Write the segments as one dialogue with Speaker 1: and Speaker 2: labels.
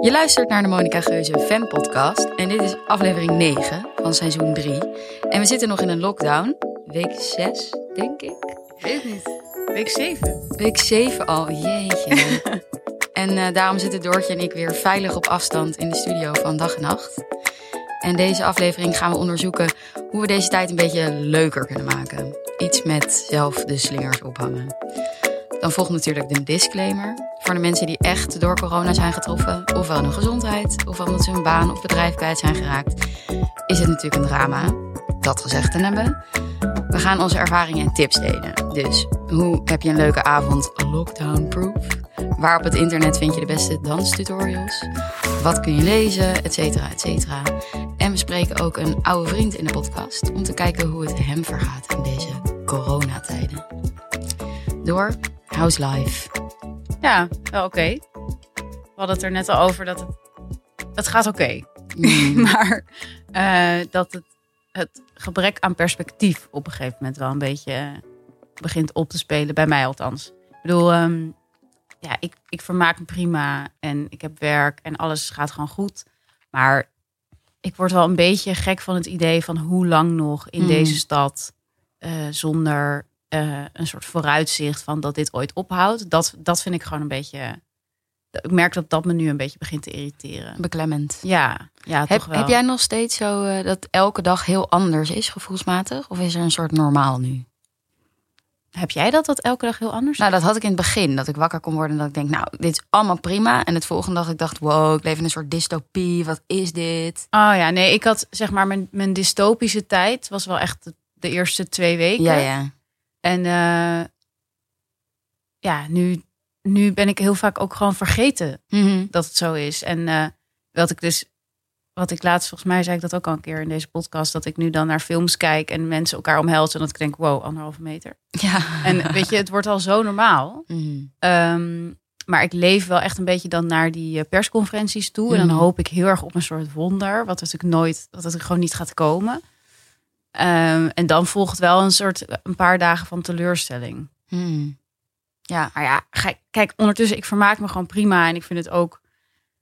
Speaker 1: Je luistert naar de Monica Geuze Fan Podcast en dit is aflevering 9 van seizoen 3. En we zitten nog in een lockdown, week 6 denk ik.
Speaker 2: Weet het niet. Week 7.
Speaker 1: Week 7 al, jeetje. en eh, daarom zitten Doortje en ik weer veilig op afstand in de studio van dag en nacht. En deze aflevering gaan we onderzoeken hoe we deze tijd een beetje leuker kunnen maken. Iets met zelf de slingers ophangen. Dan volgt natuurlijk de disclaimer. Voor de mensen die echt door corona zijn getroffen, ofwel hun gezondheid, ofwel omdat ze hun baan of bedrijf kwijt zijn geraakt, is het natuurlijk een drama. Dat gezegd te hebben. We gaan onze ervaringen en tips delen. Dus hoe heb je een leuke avond lockdown-proof? Waar op het internet vind je de beste danstutorials? Wat kun je lezen? Etcetera, etcetera. En we spreken ook een oude vriend in de podcast om te kijken hoe het hem vergaat in deze coronatijden. Door House Life.
Speaker 2: Ja, wel oké. We hadden het er net al over dat het... Het gaat oké.
Speaker 1: Mm,
Speaker 2: Maar eh, dat het, het gebrek aan perspectief op een gegeven moment wel een beetje eh, begint op te spelen. Bij mij althans. Ik bedoel, ehm, ja, ik, ik vermaak me prima. En ik heb werk en alles gaat gewoon goed. Maar ik word wel een beetje gek van het idee van hoe lang nog in
Speaker 1: Mm.
Speaker 2: deze stad... eh, zonder eh, een soort vooruitzicht van dat dit ooit ophoudt. Dat, dat vind ik gewoon een beetje. Ik merk dat dat me nu een beetje begint te irriteren.
Speaker 1: beklemmend.
Speaker 2: Ja, ja
Speaker 1: Heb,
Speaker 2: toch wel.
Speaker 1: heb jij nog steeds zo eh, dat elke dag heel anders is gevoelsmatig? Of is er een soort normaal nu?
Speaker 2: heb jij dat dat elke dag heel anders?
Speaker 1: Nou, dat had ik in het begin. Dat ik wakker kon worden en dat ik denk, nou, dit is allemaal prima. En het volgende dag ik dacht, wow, ik leef in een soort dystopie. Wat is dit?
Speaker 2: oh ja, nee, ik had zeg maar mijn, mijn dystopische tijd was wel echt de, de eerste twee weken.
Speaker 1: Ja, ja.
Speaker 2: En eh, ja, nu, nu ben ik heel vaak ook gewoon vergeten
Speaker 1: Mhm.
Speaker 2: dat het zo is. En eh, wat ik dus, wat ik laatst, volgens mij zei ik dat ook al een keer in deze podcast, dat ik nu dan naar films kijk en mensen elkaar omhelzen. En dat ik denk, wow, anderhalve meter.
Speaker 1: Ja.
Speaker 2: En weet je, het wordt al zo normaal.
Speaker 1: Mhm.
Speaker 2: Ehm, maar ik leef wel echt een beetje dan naar die eh, persconferenties toe. En dan
Speaker 1: Mhm.
Speaker 2: hoop ik heel erg op een soort wonder, wat natuurlijk nooit, dat het gewoon niet gaat komen. Ehm, en dan volgt wel een soort een paar dagen van teleurstelling.
Speaker 1: Mhm. Ja.
Speaker 2: Maar ja, gij- kijk, ondertussen, ik vermaak me gewoon prima. En ik vind het ook,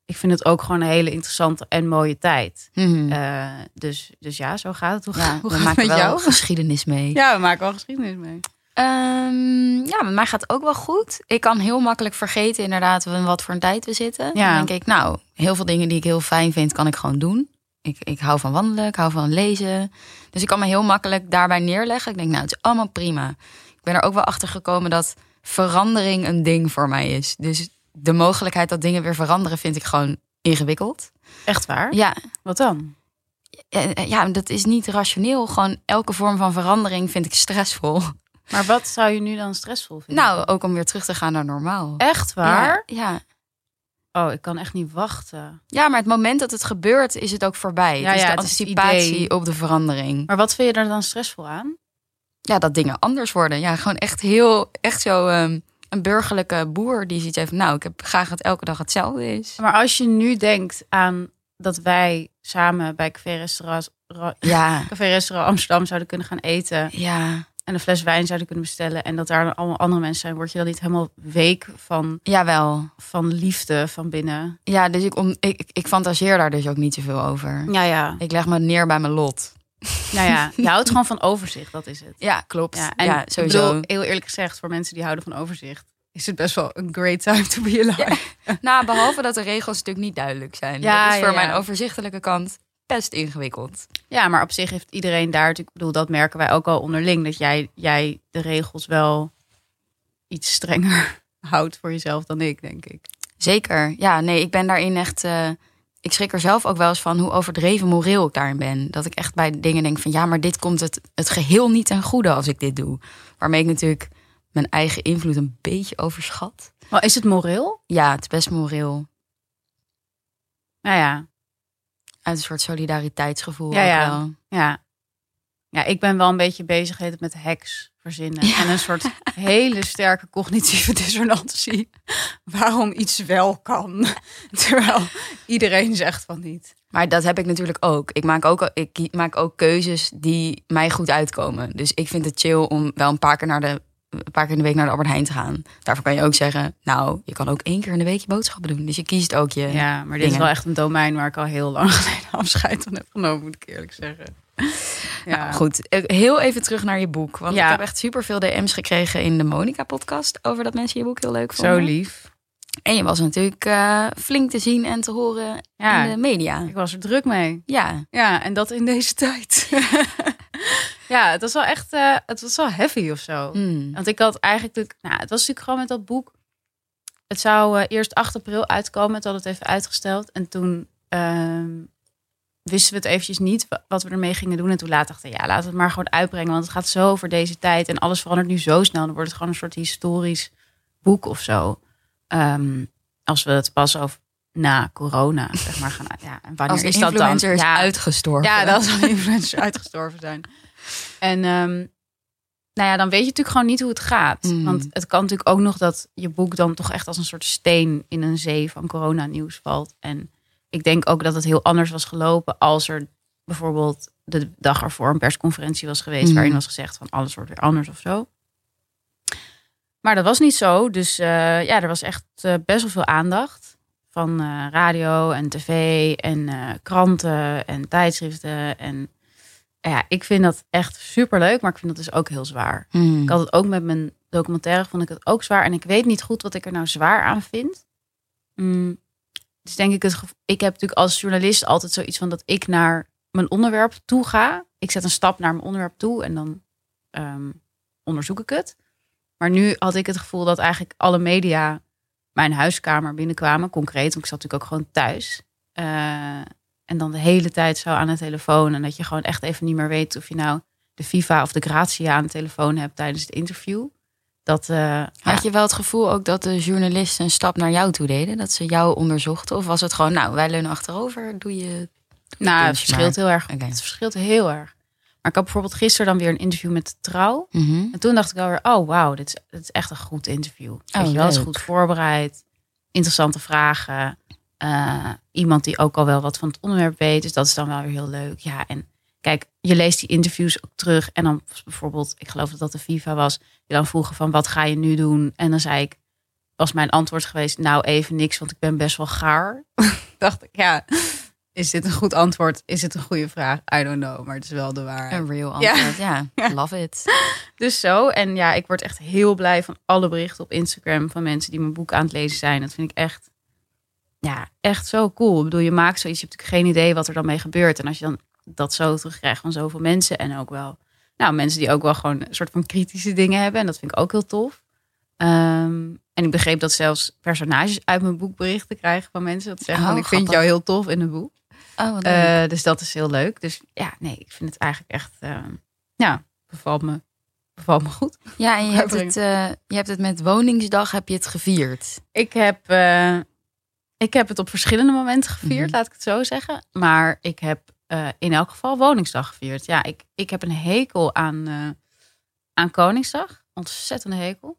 Speaker 2: ik vind het ook gewoon een hele interessante en mooie tijd.
Speaker 1: Mhm.
Speaker 2: Eh, dus, dus ja, zo gaat het. Hoe,
Speaker 1: ja,
Speaker 2: ja, hoe
Speaker 1: we
Speaker 2: gaat het
Speaker 1: maken
Speaker 2: met
Speaker 1: wel
Speaker 2: jou?
Speaker 1: geschiedenis mee.
Speaker 2: Ja, we maken wel geschiedenis mee.
Speaker 1: Ehm, ja, met mij gaat het ook wel goed. Ik kan heel makkelijk vergeten inderdaad in wat voor een tijd we zitten.
Speaker 2: Ja.
Speaker 1: Dan denk ik, nou, heel veel dingen die ik heel fijn vind, kan ik gewoon doen. Ik, ik hou van wandelen, ik hou van lezen. Dus ik kan me heel makkelijk daarbij neerleggen. Ik denk, nou, het is allemaal prima. Ik ben er ook wel achter gekomen dat verandering een ding voor mij is. Dus de mogelijkheid dat dingen weer veranderen vind ik gewoon ingewikkeld.
Speaker 2: Echt waar?
Speaker 1: Ja,
Speaker 2: Wat dan?
Speaker 1: eh, eh, ja dat is niet rationeel. Gewoon elke vorm van verandering vind ik stressvol.
Speaker 2: Maar wat zou je nu dan stressvol vinden?
Speaker 1: Nou, ook om weer terug te gaan naar normaal.
Speaker 2: echt waar?
Speaker 1: Ja, ja.
Speaker 2: Oh, ik kan echt niet wachten.
Speaker 1: Ja, maar het moment dat het gebeurt, is het ook voorbij.
Speaker 2: Ja,
Speaker 1: het is
Speaker 2: ja,
Speaker 1: de
Speaker 2: het is het
Speaker 1: anticipatie
Speaker 2: idee.
Speaker 1: op de verandering.
Speaker 2: Maar wat vind je er dan stressvol aan?
Speaker 1: Ja, dat dingen anders worden. Ja, gewoon echt heel, echt zo ehm, een burgerlijke boer die zoiets heeft. van, Nou, ik heb graag dat elke dag hetzelfde is.
Speaker 2: Maar als je nu denkt aan dat wij samen bij Café Restaurant, Ra-
Speaker 1: Ja,
Speaker 2: Café Restaurant Amsterdam zouden kunnen gaan eten.
Speaker 1: ja.
Speaker 2: en een fles wijn zouden kunnen bestellen. En dat daar dan allemaal andere mensen zijn. Word je dan niet helemaal week van,
Speaker 1: Jawel.
Speaker 2: van liefde van binnen?
Speaker 1: Ja, dus ik, om, ik, ik fantaseer daar dus ook niet zoveel over.
Speaker 2: Ja, ja.
Speaker 1: Ik leg me neer bij mijn lot.
Speaker 2: Nou ja, je houdt gewoon van overzicht, dat is het.
Speaker 1: Ja, klopt.
Speaker 2: Ja,
Speaker 1: Ja,
Speaker 2: en
Speaker 1: sowieso.
Speaker 2: Ik bedoel, heel eerlijk gezegd, voor mensen die houden van overzicht... is het best wel een great time to be alive.
Speaker 1: Nou, behalve dat de regels natuurlijk niet duidelijk zijn.
Speaker 2: Ja,
Speaker 1: dat is voor
Speaker 2: ja, ja.
Speaker 1: mijn overzichtelijke kant best ingewikkeld.
Speaker 2: Ja, maar op zich heeft iedereen daar natuurlijk, ik bedoel, dat merken wij ook al onderling, dat jij, jij de regels wel iets strenger houdt voor jezelf dan ik, denk ik.
Speaker 1: Zeker. Ja, nee, ik ben daarin echt. eh, ik schrik er zelf ook wel eens van hoe overdreven moreel ik daarin ben. Dat ik echt bij dingen denk van ja, maar dit komt het, het geheel niet ten goede als ik dit doe. Waarmee ik natuurlijk mijn eigen invloed een beetje overschat.
Speaker 2: Maar is het moreel?
Speaker 1: Ja, het is best moreel.
Speaker 2: Nou ja,
Speaker 1: Uit een soort solidariteitsgevoel.
Speaker 2: Ja,
Speaker 1: ook
Speaker 2: ja.
Speaker 1: wel.
Speaker 2: ja. Ja, ik ben wel een beetje bezig heet het, met hacks verzinnen.
Speaker 1: Ja.
Speaker 2: En een soort hele sterke cognitieve dissonantie. Waarom iets wel kan, terwijl iedereen zegt van niet.
Speaker 1: Maar dat heb ik natuurlijk ook. Ik maak ook, ik ki- maak ook keuzes die mij goed uitkomen. Dus ik vind het chill om wel een paar keer naar de een paar keer in de week naar de Albert Heijn te gaan. Daarvoor kan je ook zeggen, nou, je kan ook één keer in de week je boodschappen doen. Dus je kiest ook je.
Speaker 2: Ja, maar dit is
Speaker 1: dingen.
Speaker 2: wel echt een domein waar ik al heel lang geleden afscheid van heb genomen, moet ik eerlijk zeggen. Ja,
Speaker 1: Nou, goed, Eh, heel even terug naar je boek. Want
Speaker 2: Ja.
Speaker 1: ik heb echt superveel DM's gekregen in de Monica-podcast... over dat mensen je boek heel leuk
Speaker 2: zo
Speaker 1: vonden.
Speaker 2: lief.
Speaker 1: En je was natuurlijk eh, flink te zien en te horen
Speaker 2: Ja,
Speaker 1: in de media.
Speaker 2: ik was er druk mee.
Speaker 1: Ja,
Speaker 2: Ja, en dat in deze tijd. ja, het was wel echt, eh, het was wel heavy of zo.
Speaker 1: Hmm.
Speaker 2: Want ik had eigenlijk, natuurlijk- nou, het was natuurlijk gewoon met dat boek. Het zou eh, eerst 8 april uitkomen. Het had het even uitgesteld. En toen ehm, wisten we het eventjes niet wa- wat we ermee gingen doen. En toen later dachten we, ja, laten we het maar gewoon uitbrengen. Want het gaat zo over deze tijd. En alles verandert nu zo snel. Dan wordt het gewoon een soort historisch boek of zo. Ehm, als we het pas over na corona, zeg maar, gaan. Ja, en wanneer
Speaker 1: als de
Speaker 2: is dat dan?
Speaker 1: influencer is
Speaker 2: ja,
Speaker 1: uitgestorven.
Speaker 2: ja, dat zal influencers uitgestorven zijn. En ehm, nou ja, dan weet je natuurlijk gewoon niet hoe het gaat.
Speaker 1: Mm.
Speaker 2: Want het kan natuurlijk ook nog dat je boek dan toch echt als een soort steen in een zee van coronanieuws valt. En ik denk ook dat het heel anders was gelopen als er bijvoorbeeld de dag ervoor een persconferentie was geweest
Speaker 1: Mhm.
Speaker 2: waarin was gezegd van alles wordt weer anders of zo. Maar dat was niet zo. Dus eh, ja, er was echt eh, best wel veel aandacht. Van eh, radio en tv en eh, kranten en tijdschriften. En ja, ik vind dat echt superleuk, maar ik vind dat dus ook heel zwaar.
Speaker 1: Hmm.
Speaker 2: Ik had het ook met mijn documentaire, vond ik het ook zwaar. En ik weet niet goed wat ik er nou zwaar aan vind. Mm, dus denk ik, het gevo- ik heb natuurlijk als journalist altijd zoiets van dat ik naar mijn onderwerp toe ga. Ik zet een stap naar mijn onderwerp toe en dan ehm, onderzoek ik het. Maar nu had ik het gevoel dat eigenlijk alle media mijn huiskamer binnenkwamen, concreet. Want ik zat natuurlijk ook gewoon thuis. Eh, en dan de hele tijd zo aan de telefoon. En dat je gewoon echt even niet meer weet of je nou de FIFA of de Grazia aan de telefoon hebt tijdens het interview. Dat, eh, ja.
Speaker 1: Had je wel het gevoel ook dat de journalisten een stap naar jou toe deden? Dat ze jou onderzochten? Of was het gewoon, nou, wij leunen achterover, doe je...
Speaker 2: Nou, het
Speaker 1: puntje
Speaker 2: verschilt heel erg.
Speaker 1: Oké.
Speaker 2: Het verschilt heel erg. Maar ik had bijvoorbeeld gisteren dan weer een interview met de Trouw.
Speaker 1: Mhm.
Speaker 2: En toen dacht ik alweer, oh wauw, dit is, dit is echt een goed interview. Weet je wel, het is
Speaker 1: Oh, leuk.
Speaker 2: goed voorbereid. Interessante vragen. eh, iemand die ook al wel wat van het onderwerp weet. Dus dat is dan wel weer heel leuk. Ja, en kijk, je leest die interviews ook terug. En dan bijvoorbeeld, ik geloof dat dat de FIFA was. Die dan vroegen van, wat ga je nu doen? En dan zei ik, was mijn antwoord geweest, nou even niks, want ik ben best wel gaar. dacht ik, ja, is dit een goed antwoord? Is het een goede vraag? I don't know, maar het is wel de waarheid.
Speaker 1: Een real antwoord, ja. Love it.
Speaker 2: Dus zo. En ja, ik word echt heel blij van alle berichten op Instagram van mensen die mijn boek aan het lezen zijn. Dat vind ik echt, ja, echt zo cool. Ik bedoel, je maakt zoiets, je hebt natuurlijk geen idee wat er dan mee gebeurt. En als je dan dat zo terugkrijgt van zoveel mensen en ook wel, nou, mensen die ook wel gewoon een soort van kritische dingen hebben. En dat vind ik ook heel tof. Ehm, en ik begreep dat zelfs personages uit mijn boek berichten krijgen van mensen. Dat ze zeggen,
Speaker 1: Oh,
Speaker 2: van, ik vind
Speaker 1: grappig.
Speaker 2: jou heel tof in het boek.
Speaker 1: Oh, wat leuk.
Speaker 2: Eh, dus dat is heel leuk. Dus ja, nee, ik vind het eigenlijk echt, eh, ja, bevalt me, bevalt me goed.
Speaker 1: ja, en je hebt,
Speaker 2: uitbreng.
Speaker 1: het, eh, je hebt het met Woningsdag heb je het gevierd.
Speaker 2: Ik heb, eh, ik heb het op verschillende momenten gevierd,
Speaker 1: Mhm.
Speaker 2: laat ik het zo zeggen. Maar ik heb eh, in elk geval Woningsdag gevierd. Ja, ik, ik heb een hekel aan, eh, aan Koningsdag. Ontzettende hekel.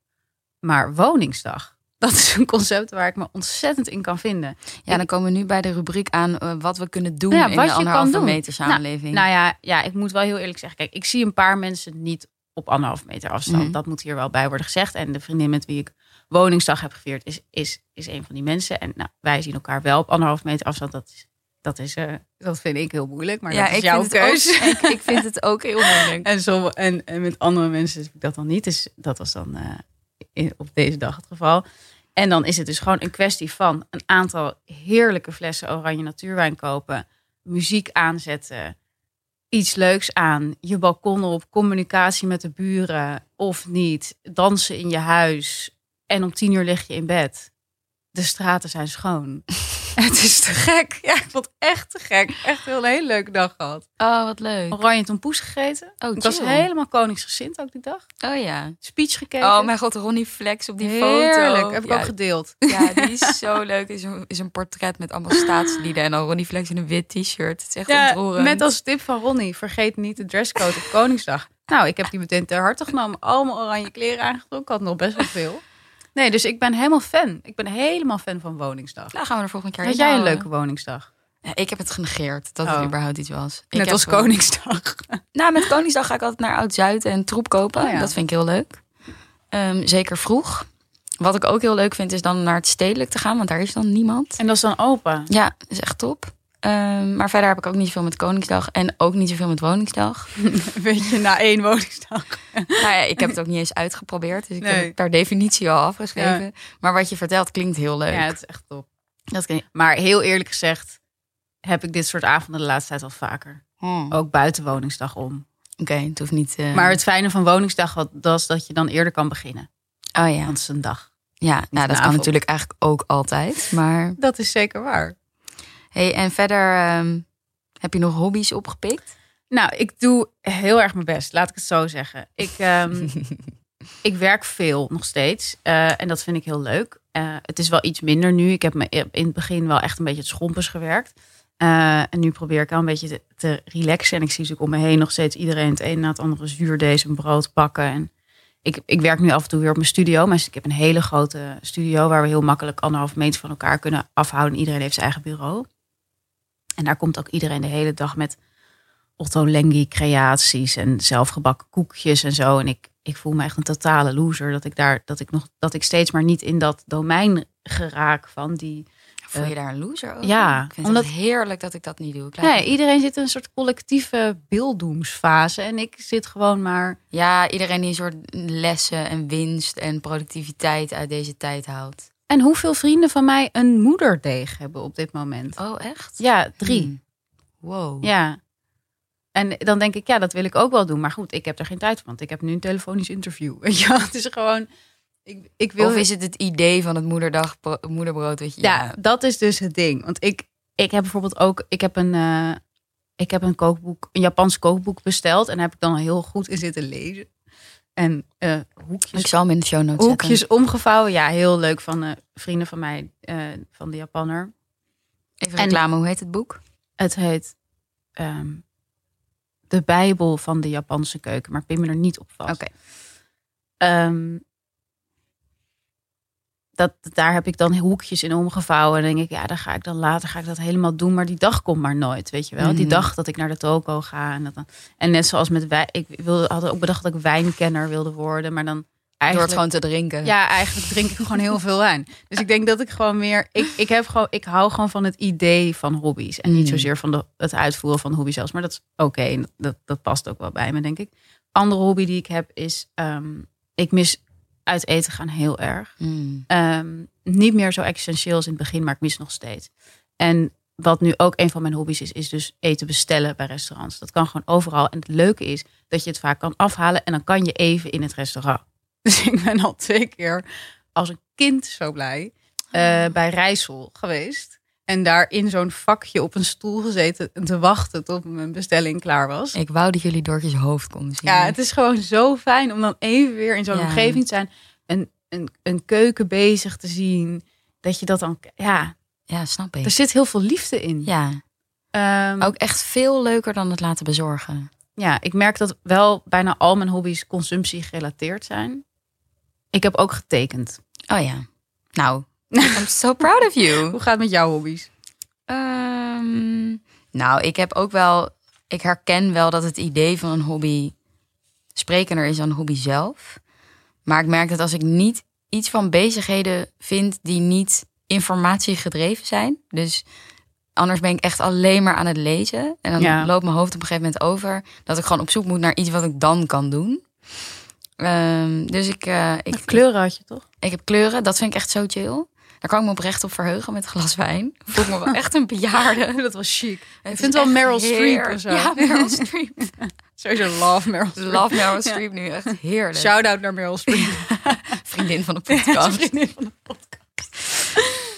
Speaker 2: Maar Woningsdag, dat is een concept waar ik me ontzettend in kan vinden.
Speaker 1: Ja, dan komen we nu bij de rubriek aan eh, wat we kunnen doen
Speaker 2: Ja,
Speaker 1: in
Speaker 2: wat
Speaker 1: de
Speaker 2: je kan
Speaker 1: anderhalve
Speaker 2: doen.
Speaker 1: meter samenleving.
Speaker 2: Nou ja, ja, ik moet wel heel eerlijk zeggen. Kijk, ik zie een paar mensen niet op anderhalf meter afstand.
Speaker 1: Mhm.
Speaker 2: Dat moet hier wel bij worden gezegd. En de vriendin met wie ik woningsdag heb gevierd is, is, is een van die mensen. En nou, wij zien elkaar wel op anderhalf meter afstand. Dat is, dat is, eh, dat vind ik heel moeilijk. Maar dat is jouw
Speaker 1: vind het ook-
Speaker 2: keus.
Speaker 1: ik, ik vind het ook heel moeilijk.
Speaker 2: En, somm- en, en met andere mensen is dat dan niet. Dus dat was dan eh, in- op deze dag het geval. En dan is het dus gewoon een kwestie van een aantal heerlijke flessen oranje natuurwijn kopen, muziek aanzetten, iets leuks aan, je balkon op, communicatie met de buren of niet, dansen in je huis en om tien uur lig je in bed. De straten zijn schoon. het is te gek. Ja, ik vond het echt te gek. Echt een hele leuke dag gehad.
Speaker 1: Oh, wat leuk.
Speaker 2: Oranje tompoes gegeten.
Speaker 1: Oh,
Speaker 2: Ik was
Speaker 1: chill.
Speaker 2: helemaal koningsgezind ook die dag.
Speaker 1: Oh ja.
Speaker 2: Speech gekeken.
Speaker 1: Oh mijn god, Ronnie Flex op die
Speaker 2: Heerlijk.
Speaker 1: foto.
Speaker 2: Heb ik
Speaker 1: ja,
Speaker 2: ook gedeeld.
Speaker 1: ja, die is zo leuk. Is een, is een portret met allemaal staatslieden en dan Ronnie Flex in een wit t-shirt. Het is echt ontroerend.
Speaker 2: met als tip van Ronnie, vergeet niet de dresscode op Koningsdag. Nou, ik heb die meteen ter harte genomen. Allemaal oranje kleren aangetrokken. Ik had nog best wel veel. Nee, dus ik ben helemaal fan. Ik ben helemaal fan van Woningsdag.
Speaker 1: Nou, gaan we er volgende keer
Speaker 2: Had
Speaker 1: in
Speaker 2: jij een
Speaker 1: houden.
Speaker 2: leuke Woningsdag?
Speaker 1: Ja, ik heb het genegeerd dat
Speaker 2: Oh.
Speaker 1: het überhaupt iets was. Ik
Speaker 2: Net
Speaker 1: heb
Speaker 2: als
Speaker 1: gewoon-
Speaker 2: Koningsdag.
Speaker 1: Nou, met Koningsdag ga ik altijd naar Oud-Zuid en troep kopen.
Speaker 2: Oh ja.
Speaker 1: Dat vind ik heel leuk. Ehm, zeker vroeg. Wat ik ook heel leuk vind, is dan naar het stedelijk te gaan, want daar is dan niemand.
Speaker 2: En dat is dan open.
Speaker 1: Ja, is echt top. Ehm, maar verder heb ik ook niet zoveel met Koningsdag en ook niet zoveel met Woningsdag.
Speaker 2: Weet je, na één woningsdag.
Speaker 1: nou ja, ik heb het ook niet eens uitgeprobeerd, dus ik
Speaker 2: Nee.
Speaker 1: heb het per definitie al afgeschreven. Maar wat je vertelt klinkt heel leuk.
Speaker 2: Ja, het is echt top.
Speaker 1: dat klinkt...
Speaker 2: Maar heel eerlijk gezegd heb ik dit soort avonden de laatste tijd al vaker.
Speaker 1: Hmm. Oké,
Speaker 2: Ook buiten woningsdag om.
Speaker 1: het hoeft niet... eh,
Speaker 2: Maar het fijne van woningsdag wat- dat is dat je dan eerder kan beginnen.
Speaker 1: Oh ja,
Speaker 2: Want het is een dag.
Speaker 1: ja nou, dat kan
Speaker 2: vanavond.
Speaker 1: natuurlijk eigenlijk ook altijd. Maar...
Speaker 2: Dat is zeker waar.
Speaker 1: Hey, en verder ehm, heb je nog hobby's opgepikt?
Speaker 2: Nou, ik doe heel erg mijn best, laat ik het zo zeggen. Ik, ehm, ik werk veel nog steeds eh, en dat vind ik heel leuk. Eh, het is wel iets minder nu. Ik heb me in het begin wel echt een beetje het schompers gewerkt. Eh, en nu probeer ik al een beetje te, te relaxen. En ik zie natuurlijk om me heen nog steeds iedereen het een na het andere zuurdees en brood pakken. En ik, ik werk nu af en toe weer op mijn studio. Maar ik heb een hele grote studio waar we heel makkelijk anderhalf meter van elkaar kunnen afhouden. Iedereen heeft zijn eigen bureau. En daar komt ook iedereen de hele dag met Otto Lengi creaties en zelfgebakken koekjes en zo. En ik, ik voel me echt een totale loser dat ik daar dat ik nog dat ik steeds maar niet in dat domein geraak van die.
Speaker 1: Voel je daar een loser over?
Speaker 2: Eh, ja,
Speaker 1: Ik vind
Speaker 2: omdat-
Speaker 1: het heerlijk dat ik dat niet doe. Ik laat
Speaker 2: Nee, iedereen zit in een soort collectieve beelddoemsfase en ik zit gewoon maar.
Speaker 1: Ja, iedereen die een soort lessen en winst en productiviteit uit deze tijd haalt.
Speaker 2: En hoeveel vrienden van mij een moederdeeg hebben op dit moment?
Speaker 1: Oh, echt?
Speaker 2: Ja, drie.
Speaker 1: Hmm. Wow.
Speaker 2: Ja. En dan denk ik, ja, dat wil ik ook wel doen. Maar goed, ik heb er geen tijd voor, want ik heb nu een telefonisch interview. Weet je wel, het is gewoon... Ik, ik wil
Speaker 1: Of is het het idee van het moederdag, moederbrood? Weet je?
Speaker 2: Ja, dat is dus het ding. Want ik, ik heb bijvoorbeeld ook, ik heb een, eh, ik heb een kookboek, een Japans kookboek besteld. En daar heb ik dan heel goed in zitten lezen. En eh, hoekjes,
Speaker 1: Ik zal hem in de show notes zetten.
Speaker 2: hoekjes omgevouwen. Ja, heel leuk van eh, vrienden van mij, eh, van de Japanner.
Speaker 1: Even
Speaker 2: en-
Speaker 1: reclame, hoe heet het boek?
Speaker 2: Het heet ehm, De Bijbel van de Japanse keuken. Maar pin me er niet op vast.
Speaker 1: Oké.
Speaker 2: Ehm, dat, daar heb ik dan hoekjes in omgevouwen. En dan denk ik, ja, dan ga ik dan later ga ik dat helemaal doen. Maar die dag komt maar nooit, weet je wel. Die
Speaker 1: Mhm.
Speaker 2: dag dat ik naar de toko ga. En, dat dan, en net zoals met wijn. Ik wilde, had ook bedacht dat ik wijnkenner wilde worden. Maar dan
Speaker 1: Door het
Speaker 2: eigenlijk...
Speaker 1: gewoon te drinken.
Speaker 2: Ja, eigenlijk drink ik gewoon heel veel wijn. Dus ik denk dat ik gewoon meer. Ik, ik, heb gewoon, ik hou gewoon van het idee van hobby's. En niet
Speaker 1: Mm.
Speaker 2: zozeer van de, het uitvoeren van hobby zelfs. Maar dat is oké. en dat, dat past ook wel bij me, denk ik. Andere hobby die ik heb is. ehm, ik mis uit eten gaan heel erg.
Speaker 1: Hmm.
Speaker 2: Ehm, niet meer zo essentieel als in het begin, maar ik mis nog steeds. En wat nu ook een van mijn hobby's is, is dus eten bestellen bij restaurants. Dat kan gewoon overal. En het leuke is dat je het vaak kan afhalen en dan kan je even in het restaurant. Dus ik ben al twee keer als een kind zo blij eh, bij Rijssel geweest. En daar in zo'n vakje op een stoel gezeten en te wachten tot mijn bestelling klaar was.
Speaker 1: Ik wou dat jullie Dortjes hoofd konden zien.
Speaker 2: Ja, het is gewoon zo fijn om dan even weer in zo'n
Speaker 1: Ja.
Speaker 2: omgeving te zijn. Een, een, een keuken bezig te zien. Dat je dat dan... Ja, Oh.
Speaker 1: Ja, snap
Speaker 2: er
Speaker 1: ik.
Speaker 2: zit heel veel liefde in.
Speaker 1: Ja,
Speaker 2: Ja,
Speaker 1: ook echt veel leuker dan het laten bezorgen.
Speaker 2: ja ik merk dat wel bijna al mijn hobby's consumptie gerelateerd zijn. Ik heb ook getekend.
Speaker 1: Oh ja. Nou, I'm so proud of you.
Speaker 2: Hoe gaat het met jouw hobby's?
Speaker 1: Ehm, nou, ik heb ook wel. Ik herken wel dat het idee van een hobby sprekender is dan een hobby zelf. Maar ik merk dat als ik niet iets van bezigheden vind die niet informatiegedreven zijn. Dus anders ben ik echt alleen maar aan het lezen. En dan
Speaker 2: Ja.
Speaker 1: loopt mijn hoofd op een gegeven moment over. Dat ik gewoon op zoek moet naar iets wat ik dan kan doen. Ehm, dus ik, eh, ik,
Speaker 2: Kleuren had je toch?
Speaker 1: ik heb kleuren, dat vind ik echt zo chill. Daar kan ik me oprecht op verheugen met een glas wijn. Voel ik me wel echt een bejaarde.
Speaker 2: Dat was chic.
Speaker 1: Ik
Speaker 2: vind wel Meryl Streep of zo.
Speaker 1: Ja, Meryl Streep.
Speaker 2: Sowieso love Meryl
Speaker 1: Dus Love Meryl Streep nu, echt heerlijk.
Speaker 2: Shout-out naar Meryl Streep.
Speaker 1: Vriendin van de podcast.
Speaker 2: Vriendin van de podcast.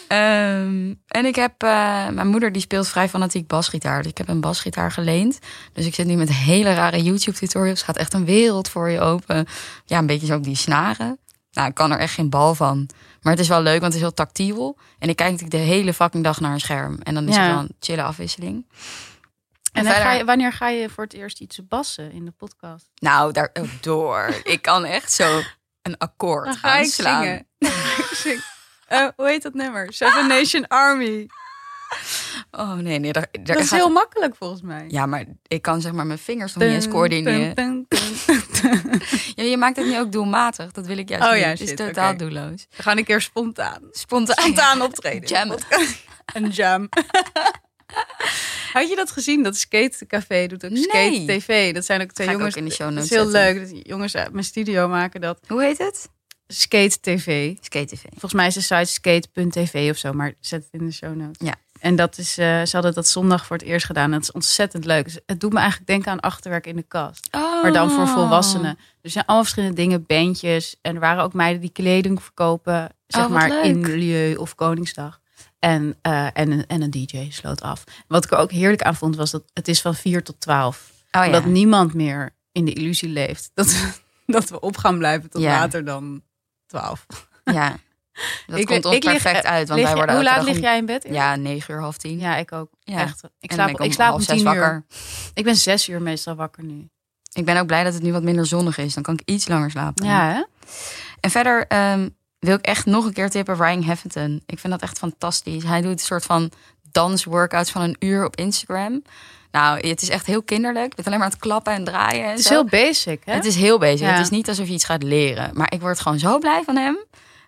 Speaker 1: Ehm, en ik heb, eh, mijn moeder die speelt vrij fanatiek basgitaar. Dus ik heb een basgitaar geleend. Dus ik zit nu met hele rare YouTube tutorials. Gaat echt een wereld voor je open. Ja, een beetje zo ook die snaren. Nou, ik kan er echt geen bal van. Maar het is wel leuk, want het is heel tactiel. En ik kijk natuurlijk de hele fucking dag naar een scherm. En dan is
Speaker 2: Ja.
Speaker 1: het wel een chille afwisseling.
Speaker 2: En dan
Speaker 1: verder-
Speaker 2: ga je, wanneer ga je voor het eerst iets bassen in de podcast?
Speaker 1: Nou, daar door. ik kan echt zo een akkoord aanslaan.
Speaker 2: Dan ga ik zingen. Eh, hoe heet dat nummer?
Speaker 1: Ah.
Speaker 2: Seven Nation Army.
Speaker 1: Oh nee, nee. Daar, daar
Speaker 2: Dat is
Speaker 1: gaat-
Speaker 2: heel makkelijk volgens mij.
Speaker 1: Ja, maar ik kan zeg maar mijn vingers nog niet eens coördineren.
Speaker 2: Dun, dun, dun,
Speaker 1: Ja, je maakt het nu ook doelmatig. Dat wil ik juist
Speaker 2: Oh
Speaker 1: niet.
Speaker 2: ja,
Speaker 1: Het is
Speaker 2: shit,
Speaker 1: totaal
Speaker 2: oké.
Speaker 1: doelloos.
Speaker 2: We gaan een keer spontaan.
Speaker 1: Spontaan.
Speaker 2: Spontaan optreden.
Speaker 1: Jammen.
Speaker 2: Een jam. Had je dat gezien? Dat Skate Café doet ook
Speaker 1: Nee.
Speaker 2: Skate TV. Dat zijn ook twee
Speaker 1: Ga ik
Speaker 2: jongens.
Speaker 1: ook in de show
Speaker 2: dat is
Speaker 1: notes
Speaker 2: heel
Speaker 1: zetten.
Speaker 2: leuk. Dat die jongens uit mijn studio maken dat.
Speaker 1: Hoe heet het?
Speaker 2: Skate TV.
Speaker 1: Skate TV.
Speaker 2: Volgens mij is de site skate.tv of zo, maar zet het in de show notes.
Speaker 1: Ja.
Speaker 2: En dat is, eh, ze hadden dat zondag voor het eerst gedaan. En dat is ontzettend leuk. Dus het doet me eigenlijk denken aan achterwerk in de kast. Maar dan
Speaker 1: Oh.
Speaker 2: voor volwassenen. Dus er zijn allemaal verschillende dingen, bandjes. En er waren ook meiden die kleding verkopen. Zeg
Speaker 1: Oh, wat
Speaker 2: maar in
Speaker 1: leuk.
Speaker 2: Milieu of Koningsdag. En, eh, en, een, en een DJ sloot af. Wat ik er ook heerlijk aan vond, was dat het is van 4 tot 12.
Speaker 1: Oh ja.
Speaker 2: Dat niemand meer in de illusie leeft dat, dat we op gaan blijven tot
Speaker 1: Ja.
Speaker 2: later dan 12.
Speaker 1: ja. Dat
Speaker 2: Ik-
Speaker 1: komt ons
Speaker 2: ik lig-
Speaker 1: perfect uit, want
Speaker 2: Lig
Speaker 1: wij
Speaker 2: je-
Speaker 1: worden
Speaker 2: hoe laat
Speaker 1: elke dag
Speaker 2: lig
Speaker 1: om-
Speaker 2: jij in bed?
Speaker 1: Ja, negen uur, half tien.
Speaker 2: Ja, ik ook.
Speaker 1: Ja.
Speaker 2: Echt. Ik
Speaker 1: En
Speaker 2: slaap,
Speaker 1: dan ben
Speaker 2: ik
Speaker 1: om
Speaker 2: slaap om
Speaker 1: half zes
Speaker 2: tien
Speaker 1: wakker.
Speaker 2: uur. Ik ben zes uur meestal wakker nu.
Speaker 1: Ik ben ook blij dat het nu wat minder zonnig is. Dan kan ik iets langer slapen.
Speaker 2: Ja, hè?
Speaker 1: En verder ehm, wil ik echt nog een keer tippen Ryan Hefferton. Ik vind dat echt fantastisch. Hij doet een soort van dansworkouts van een uur op Instagram. Nou, het is echt heel kinderlijk. Je bent alleen maar aan het klappen en draaien. En
Speaker 2: Het is
Speaker 1: zo.
Speaker 2: heel basic, hè?
Speaker 1: Het is heel bezig.
Speaker 2: Ja.
Speaker 1: Het is niet alsof je iets gaat leren. Maar ik word gewoon zo blij van hem.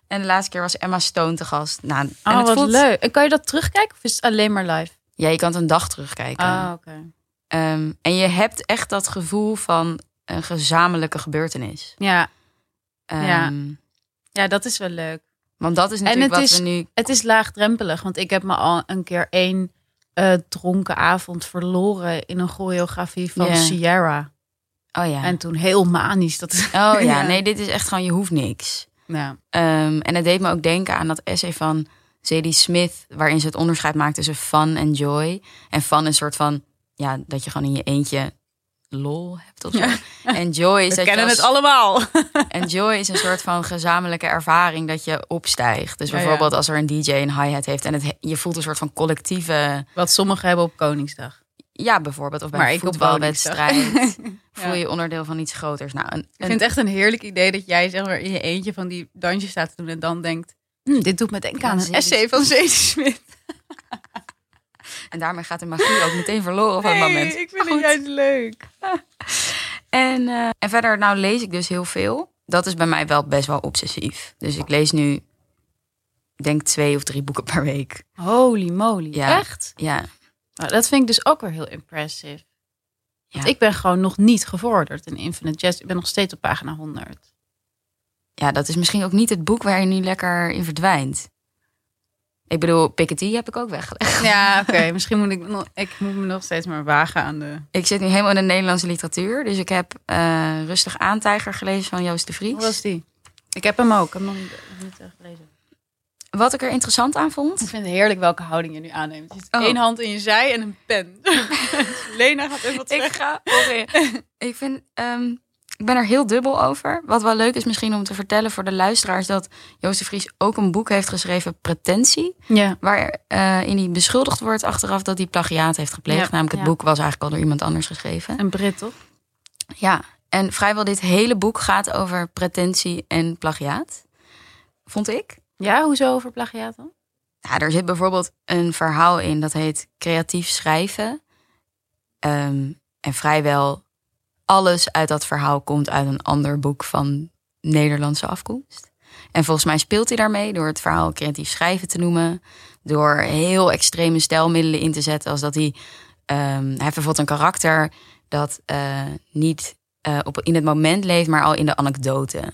Speaker 1: En de laatste keer was Emma Stone te gast. Nou, en
Speaker 2: oh,
Speaker 1: het
Speaker 2: wat
Speaker 1: voelt...
Speaker 2: leuk. En kan je dat terugkijken of is het alleen maar live?
Speaker 1: Ja, je kan het een dag terugkijken.
Speaker 2: Ah, oké.
Speaker 1: Ehm, en je hebt echt dat gevoel van een gezamenlijke gebeurtenis.
Speaker 2: Ja.
Speaker 1: Ehm,
Speaker 2: Ja. ja, dat is wel leuk.
Speaker 1: Want dat is natuurlijk
Speaker 2: het
Speaker 1: wat
Speaker 2: is-
Speaker 1: we nu...
Speaker 2: Het is laagdrempelig, want ik heb me al een keer één eh, dronken avond verloren in een choreografie van
Speaker 1: Ja.
Speaker 2: Sierra.
Speaker 1: Oh ja.
Speaker 2: En toen heel manisch. Dat...
Speaker 1: Oh ja,
Speaker 2: Ja.
Speaker 1: nee, dit is echt gewoon, je hoeft niks.
Speaker 2: Ja.
Speaker 1: Ehm, en het deed me ook denken aan dat essay van Zadie Smith, waarin ze het onderscheid maakt tussen fun en joy. En fun is een soort van, ja, dat je gewoon in je eentje lol hebt of zo. En joy is
Speaker 2: We
Speaker 1: dat je
Speaker 2: kennen
Speaker 1: als-
Speaker 2: het allemaal.
Speaker 1: en joy is een soort van gezamenlijke ervaring dat je opstijgt. Dus
Speaker 2: Ja,
Speaker 1: bijvoorbeeld als er een DJ een hi-hat heeft en het, he- je voelt een soort van collectieve,
Speaker 2: Wat sommigen hebben op Koningsdag.
Speaker 1: ja, bijvoorbeeld of bij
Speaker 2: Maar
Speaker 1: een
Speaker 2: ik op
Speaker 1: voetbalwedstrijd voel
Speaker 2: Ja.
Speaker 1: je onderdeel van iets groters. Nou, een,
Speaker 2: Ik
Speaker 1: een-
Speaker 2: vind het echt een heerlijk idee dat jij zeg maar in je eentje van die dansjes staat te doen en dan denkt, "Hm, dit doet me denken aan
Speaker 1: Ja,
Speaker 2: een
Speaker 1: Zadie
Speaker 2: essay van Zadie Smit.
Speaker 1: en daarmee gaat de magie ook meteen verloren op het moment.
Speaker 2: ik vind
Speaker 1: Goed.
Speaker 2: het juist leuk.
Speaker 1: En, eh, en verder, nou lees ik dus heel veel. Dat is bij mij wel best wel obsessief. Dus ik lees nu, ik denk twee of drie boeken per week.
Speaker 2: Holy moly,
Speaker 1: Ja.
Speaker 2: echt?
Speaker 1: Ja,
Speaker 2: Nou, dat vind ik dus ook weer heel impressive. Want
Speaker 1: Ja.
Speaker 2: ik ben gewoon nog niet gevorderd in Infinite Jest. Ik ben nog steeds op pagina 100.
Speaker 1: ja, dat is misschien ook niet het boek waar je nu lekker in verdwijnt. Ik bedoel, Piketty heb ik ook weggelegd.
Speaker 2: Ja, oké. Misschien moet ik, nog- ik moet me nog steeds maar wagen aan de...
Speaker 1: Ik zit nu helemaal in de Nederlandse literatuur. Dus ik heb eh, Rustig aan Tijger gelezen van Joost de
Speaker 2: Hoe
Speaker 1: Vries.
Speaker 2: was die? Ik heb hem ook. Ik heb hem nog niet, niet, eh, gelezen.
Speaker 1: Wat ik er interessant aan vond...
Speaker 2: Ik vind het heerlijk welke houding je nu aanneemt. Je zit
Speaker 1: Oh.
Speaker 2: één hand in je zij en een pen. Lena gaat even wat zeggen.
Speaker 1: Ik ga. oké. ik vind. ehm, ik ben er heel dubbel over. Wat wel leuk is misschien om te vertellen voor de luisteraars dat Joost de Vries ook een boek heeft geschreven, Pretentie.
Speaker 2: Ja.
Speaker 1: Waarin hij beschuldigd wordt achteraf dat hij plagiaat heeft gepleegd.
Speaker 2: Ja,
Speaker 1: Namelijk het
Speaker 2: ja.
Speaker 1: boek was eigenlijk al door iemand anders geschreven.
Speaker 2: Een Brit, toch?
Speaker 1: Ja, en vrijwel dit hele boek gaat over pretentie en plagiaat. Vond ik.
Speaker 2: Ja, hoezo over plagiaat dan?
Speaker 1: Ja, er zit bijvoorbeeld een verhaal in dat heet creatief schrijven. Ehm, en vrijwel alles uit dat verhaal komt uit een ander boek van Nederlandse afkomst. En volgens mij speelt hij daarmee door het verhaal creatief schrijven te noemen. Door heel extreme stijlmiddelen in te zetten. Als dat hij. ehm, hij heeft bijvoorbeeld een karakter dat eh, niet eh, op, in het moment leeft, maar al in de anekdote.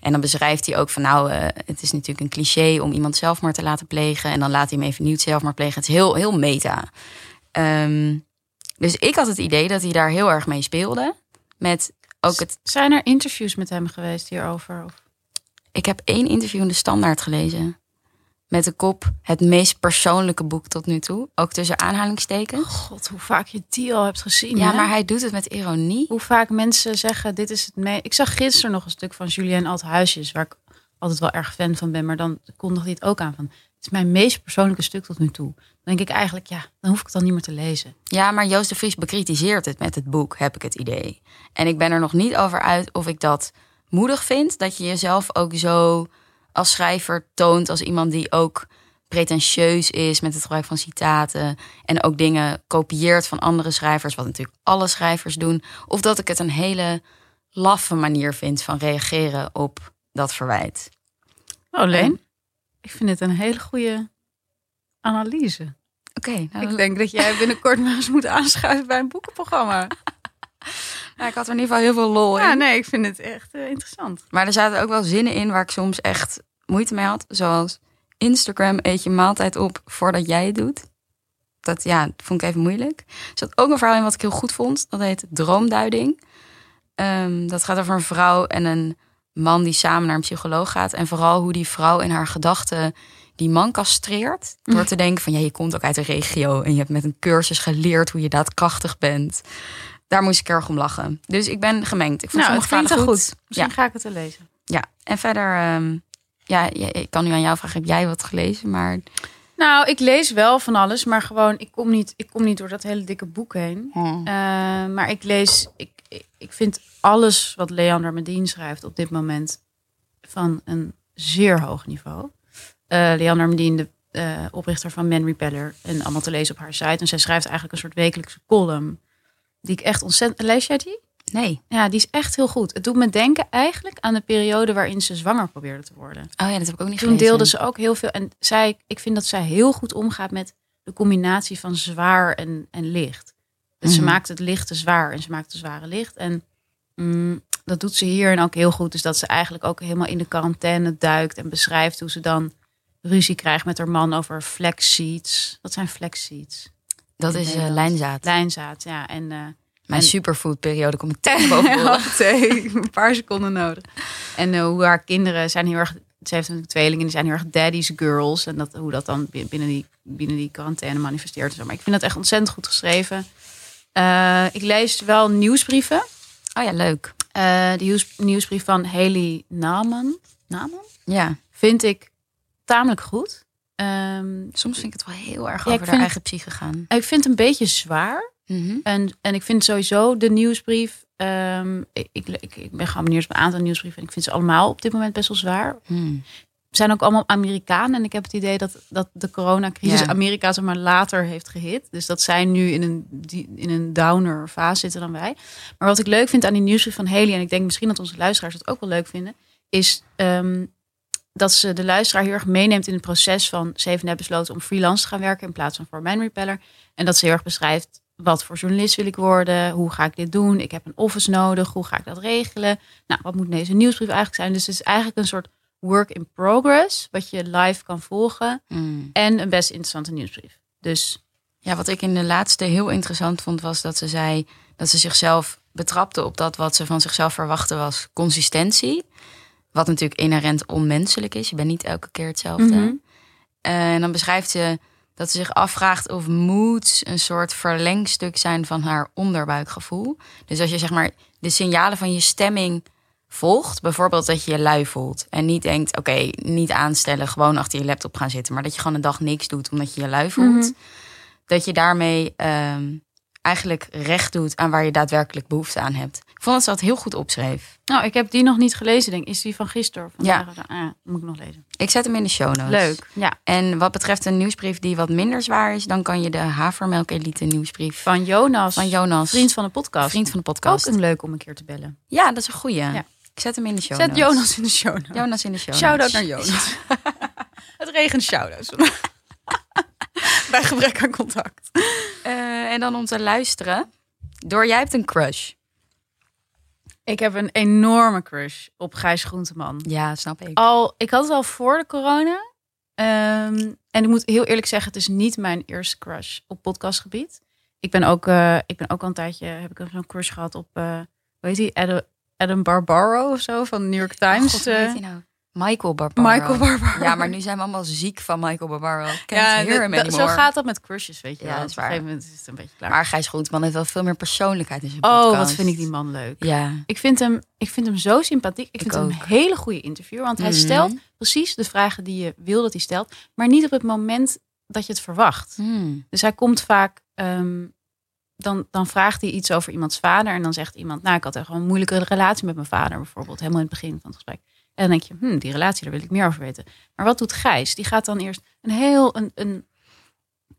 Speaker 1: En dan beschrijft hij ook van nou, eh, het is natuurlijk een cliché om iemand zelfmoord te laten plegen. En dan laat hij hem even niet zelfmoord plegen. Het is heel, heel meta. Ehm, dus ik had het idee dat hij daar heel erg mee speelde. Met ook het.
Speaker 2: Zijn er interviews met hem geweest hierover? Of?
Speaker 1: Ik heb één interview in de standaard gelezen. Met de kop het meest persoonlijke boek tot nu toe. Ook tussen aanhalingstekens.
Speaker 2: God, hoe vaak je die al hebt gezien.
Speaker 1: Ja,
Speaker 2: hè?
Speaker 1: maar hij doet het met ironie.
Speaker 2: Hoe vaak mensen zeggen, dit is het mee. Ik zag gisteren nog een stuk van Julien Althuisjes, waar ik altijd wel erg fan van ben. Maar dan kondigde hij het ook aan van, het is mijn meest persoonlijke stuk tot nu toe. Dan denk ik eigenlijk, ja, dan hoef ik het dan niet meer te lezen.
Speaker 1: Ja, maar Joost de Vries bekritiseert het met het boek, heb ik het idee. En ik ben er nog niet over uit of ik dat moedig vind. Dat je jezelf ook zo als schrijver toont als iemand die ook pretentieus is met het gebruik van citaten. En ook dingen kopieert van andere schrijvers, wat natuurlijk alle schrijvers doen. Of dat ik het een hele laffe manier vindt van reageren op dat verwijt.
Speaker 2: Oh, Leen, ik vind dit een hele goede analyse.
Speaker 1: Oké, nou,
Speaker 2: Ik
Speaker 1: ik,
Speaker 2: denk dat jij binnenkort maar eens moet aanschuiven bij een boekenprogramma.
Speaker 1: nou, ik had er in ieder geval heel veel lol in.
Speaker 2: Ja, Ah, nee, ik vind het echt eh, interessant.
Speaker 1: Maar er zaten ook wel zinnen in waar ik soms echt moeite mee had. Zoals Instagram eet je maaltijd op voordat jij het doet. Dat ja, vond ik even moeilijk. Er zat ook een verhaal in wat ik heel goed vond. Dat heet Droomduiding. Ehm, dat gaat over een vrouw en een man die samen naar een psycholoog gaat. En vooral hoe die vrouw in haar gedachten die man castreert. Door te denken van ja, je komt ook uit de regio. En je hebt met een cursus geleerd hoe je daadkrachtig bent. Daar moest ik erg om lachen. Dus ik ben gemengd. Ik vond
Speaker 2: Nou,
Speaker 1: sommige
Speaker 2: het klinkt
Speaker 1: verhalen
Speaker 2: wel
Speaker 1: goed.
Speaker 2: Misschien ga ik het er lezen.
Speaker 1: Ja, en verder, ehm, ja, je- ik kan nu aan jou vragen, heb jij wat gelezen? Maar
Speaker 2: Nou, ik lees wel van alles, maar gewoon, ik kom niet, ik kom niet door dat hele dikke boek heen. Eh, maar ik lees, ik, ik- ik vind alles wat Leander Medien schrijft op dit moment van een zeer hoog niveau. Eh Leander Medien, de eh, oprichter van Man Repeller, en allemaal te lezen op haar site. En zij schrijft eigenlijk een soort wekelijkse column, die ik echt ontzettend... Lees jij die?
Speaker 1: nee.
Speaker 2: Ja, die is echt heel goed. Het doet me denken eigenlijk aan de periode waarin ze zwanger probeerde te worden.
Speaker 1: Oh ja, dat heb ik ook niet
Speaker 2: Toen
Speaker 1: gelezen.
Speaker 2: deelde ze ook heel veel. En zij, ik vind dat zij heel goed omgaat met de combinatie van zwaar en, en licht. Dus
Speaker 1: Mhm.
Speaker 2: Ze maakt het lichte zwaar en ze maakt de zware licht. En mm, dat doet ze hierin ook heel goed. Dus dat ze eigenlijk ook helemaal in de quarantaine duikt en beschrijft hoe ze dan ruzie krijgt met haar man over flex seats. Wat zijn flex seats?
Speaker 1: Dat
Speaker 2: in
Speaker 1: is eh
Speaker 2: Nederland.
Speaker 1: lijnzaad.
Speaker 2: Lijnzaad, ja. En eh,
Speaker 1: Mijn
Speaker 2: en-
Speaker 1: superfoodperiode kom ik tegen boven.
Speaker 2: Wacht even, een paar seconden nodig. En eh, hoe haar kinderen zijn heel erg... Ze heeft een tweeling en die zijn heel erg daddy's girls. En dat, hoe dat dan bi- binnen die, binnen die quarantaine manifesteert. en zo. Maar ik vind dat echt ontzettend goed geschreven. Eh, ik lees wel nieuwsbrieven.
Speaker 1: Oh ja, leuk.
Speaker 2: Eh, de nieuws- nieuwsbrief van Haley Naman. Naman?
Speaker 1: Ja,
Speaker 2: Vind ik tamelijk goed. Ehm,
Speaker 1: soms vind ik het wel heel erg over
Speaker 2: Ja, ik vind
Speaker 1: de
Speaker 2: het-
Speaker 1: eigen psyche gaan.
Speaker 2: ik vind het een beetje zwaar.
Speaker 1: Mhm.
Speaker 2: En, en ik vind sowieso de nieuwsbrief. ehm, ik, ik, ik, ik ben geabonneerd op een aantal nieuwsbrieven. En ik vind ze allemaal op dit moment best wel zwaar.
Speaker 1: Hmm.
Speaker 2: Ze zijn ook allemaal Amerikanen. En ik heb het idee dat, dat de coronacrisis
Speaker 1: Ja.
Speaker 2: Amerika zeg maar later heeft gehit. Dus dat zij nu in een, die- in een downer fase zitten dan wij. Maar wat ik leuk vind aan die nieuwsbrief van Haley. En ik denk misschien dat onze luisteraars dat ook wel leuk vinden. Is ehm, dat ze de luisteraar heel erg meeneemt in het proces van... Ze heeft net besloten om freelance te gaan werken in plaats van voor Man Repeller. En dat ze heel erg beschrijft wat voor journalist wil ik worden? Hoe ga ik dit doen? Ik heb een office nodig. Hoe ga ik dat regelen? Nou, wat moet deze nieuwsbrief eigenlijk zijn? Dus het is eigenlijk een soort work in progress, wat je live kan volgen.
Speaker 1: Hmm.
Speaker 2: En een best interessante nieuwsbrief. Dus
Speaker 1: Ja, wat ik in de laatste heel interessant vond, was dat ze zei dat ze zichzelf betrapte op dat wat ze van zichzelf verwachtte was consistentie. Wat natuurlijk inherent onmenselijk is. Je bent niet elke keer hetzelfde.
Speaker 2: Mhm.
Speaker 1: Eh, en dan beschrijft ze dat ze zich afvraagt of moods een soort verlengstuk zijn van haar onderbuikgevoel. Dus als je zeg maar de signalen van je stemming volgt, bijvoorbeeld dat je je lui voelt en niet denkt, oké, niet aanstellen, gewoon achter je laptop gaan zitten, maar dat je gewoon een dag niks doet omdat je je lui voelt,
Speaker 2: Mhm.
Speaker 1: dat je daarmee ehm, eigenlijk recht doet aan waar je daadwerkelijk behoefte aan hebt. Ik vond dat ze dat heel goed opschreef.
Speaker 2: nou, ik heb die nog niet gelezen, denk ik. Is die van gisteren? Of
Speaker 1: Ja.
Speaker 2: vandaag? Ah, moet ik nog lezen.
Speaker 1: Ik zet hem in de show notes.
Speaker 2: Leuk. Ja.
Speaker 1: En wat betreft een nieuwsbrief die wat minder zwaar is, dan kan je de Havermelk Elite nieuwsbrief van,
Speaker 2: Van Jonas,
Speaker 1: Jonas,
Speaker 2: vriend van de podcast.
Speaker 1: vriend van de
Speaker 2: ook
Speaker 1: podcast.
Speaker 2: een leuk om een keer te bellen.
Speaker 1: Ja, dat is een goeie.
Speaker 2: Ja.
Speaker 1: Ik zet hem in de show
Speaker 2: Zet
Speaker 1: notes.
Speaker 2: Jonas in de show notes.
Speaker 1: Jonas in de show
Speaker 2: Shout-out
Speaker 1: notes.
Speaker 2: naar Jonas. het regent shout-outs. Bij gebrek aan contact.
Speaker 1: Eh, en dan om te luisteren. Door jij hebt een crush.
Speaker 2: Ik heb een enorme crush op Gijs Groenteman.
Speaker 1: Ja, snap ik.
Speaker 2: al, ik had het al voor de corona. Ehm, en ik moet heel eerlijk zeggen, het is niet mijn eerste crush op podcastgebied. Ik ben ook, eh, ik ben ook al een tijdje, heb ik ook zo'n crush gehad op, eh hoe heet die, Adam, Adam Barbaro of zo van de New York Times.
Speaker 1: Oh, God, hoe heet
Speaker 2: eh,
Speaker 1: hij nou? Michael Barbaro.
Speaker 2: Michael Barbaro.
Speaker 1: Ja, maar nu zijn we allemaal ziek van Michael Barbaro. Can't
Speaker 2: Ja,
Speaker 1: hear him
Speaker 2: dat- dat- zo
Speaker 1: anymore.
Speaker 2: gaat dat met crushes, weet je
Speaker 1: Ja,
Speaker 2: wel.
Speaker 1: dat is
Speaker 2: Op een
Speaker 1: waar.
Speaker 2: gegeven moment is het een beetje klaar.
Speaker 1: Maar Gijs Groenteman heeft wel veel meer persoonlijkheid in zijn podcast.
Speaker 2: oh, wat vind ik die man leuk.
Speaker 1: Ja.
Speaker 2: Ik vind hem, ik vind hem zo sympathiek. Ik,
Speaker 1: Ik
Speaker 2: vind hem
Speaker 1: ook.
Speaker 2: een hele goede interview. Want hij
Speaker 1: Mhm.
Speaker 2: stelt precies de vragen die je wil dat hij stelt. Maar niet op het moment dat je het verwacht.
Speaker 1: Hmm.
Speaker 2: Dus hij komt vaak, ehm, dan, dan vraagt hij iets over iemands vader. En dan zegt iemand, nou, ik had echt wel een moeilijke relatie met mijn vader bijvoorbeeld. Helemaal in het begin van het gesprek. En dan denk je, hm, die relatie, daar wil ik meer over weten. Maar wat doet Gijs? Die gaat dan eerst een heel, een, een,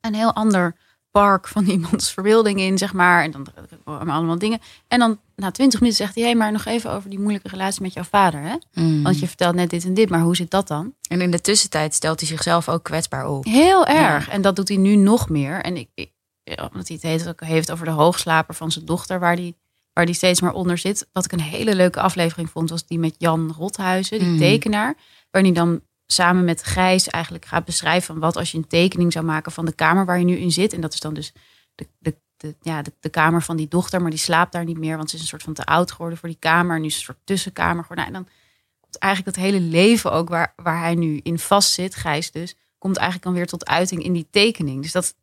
Speaker 2: een heel ander park van iemands verbeelding in, zeg maar. En dan eh, allemaal dingen. En dan na twintig minuten zegt hij, hé, maar nog even over die moeilijke relatie met jouw vader, hè?
Speaker 1: Mm.
Speaker 2: Want je vertelt net dit en dit, maar hoe zit dat dan?
Speaker 1: En in de tussentijd stelt hij zichzelf ook kwetsbaar op.
Speaker 2: Heel erg. En dat doet hij nu nog meer. En ik, ik- ja, omdat hij het heeft, ook heeft over de hoogslaper van zijn dochter, waar die, waar die steeds maar onder zit. Wat ik een hele leuke aflevering vond, was die met Jan Rothuizen, die
Speaker 1: Mhm.
Speaker 2: tekenaar. Waarin hij dan samen met Gijs eigenlijk gaat beschrijven van wat als je een tekening zou maken van de kamer waar je nu in zit. En dat is dan dus de, de, de, ja, de, de kamer van die dochter, maar die slaapt daar niet meer, want ze is een soort van te oud geworden voor die kamer. Nu is het een soort tussenkamer geworden. Nou, en dan komt eigenlijk dat hele leven ook waar, waar hij nu in vast zit, Gijs dus, komt eigenlijk dan weer tot uiting in die tekening. Dus dat,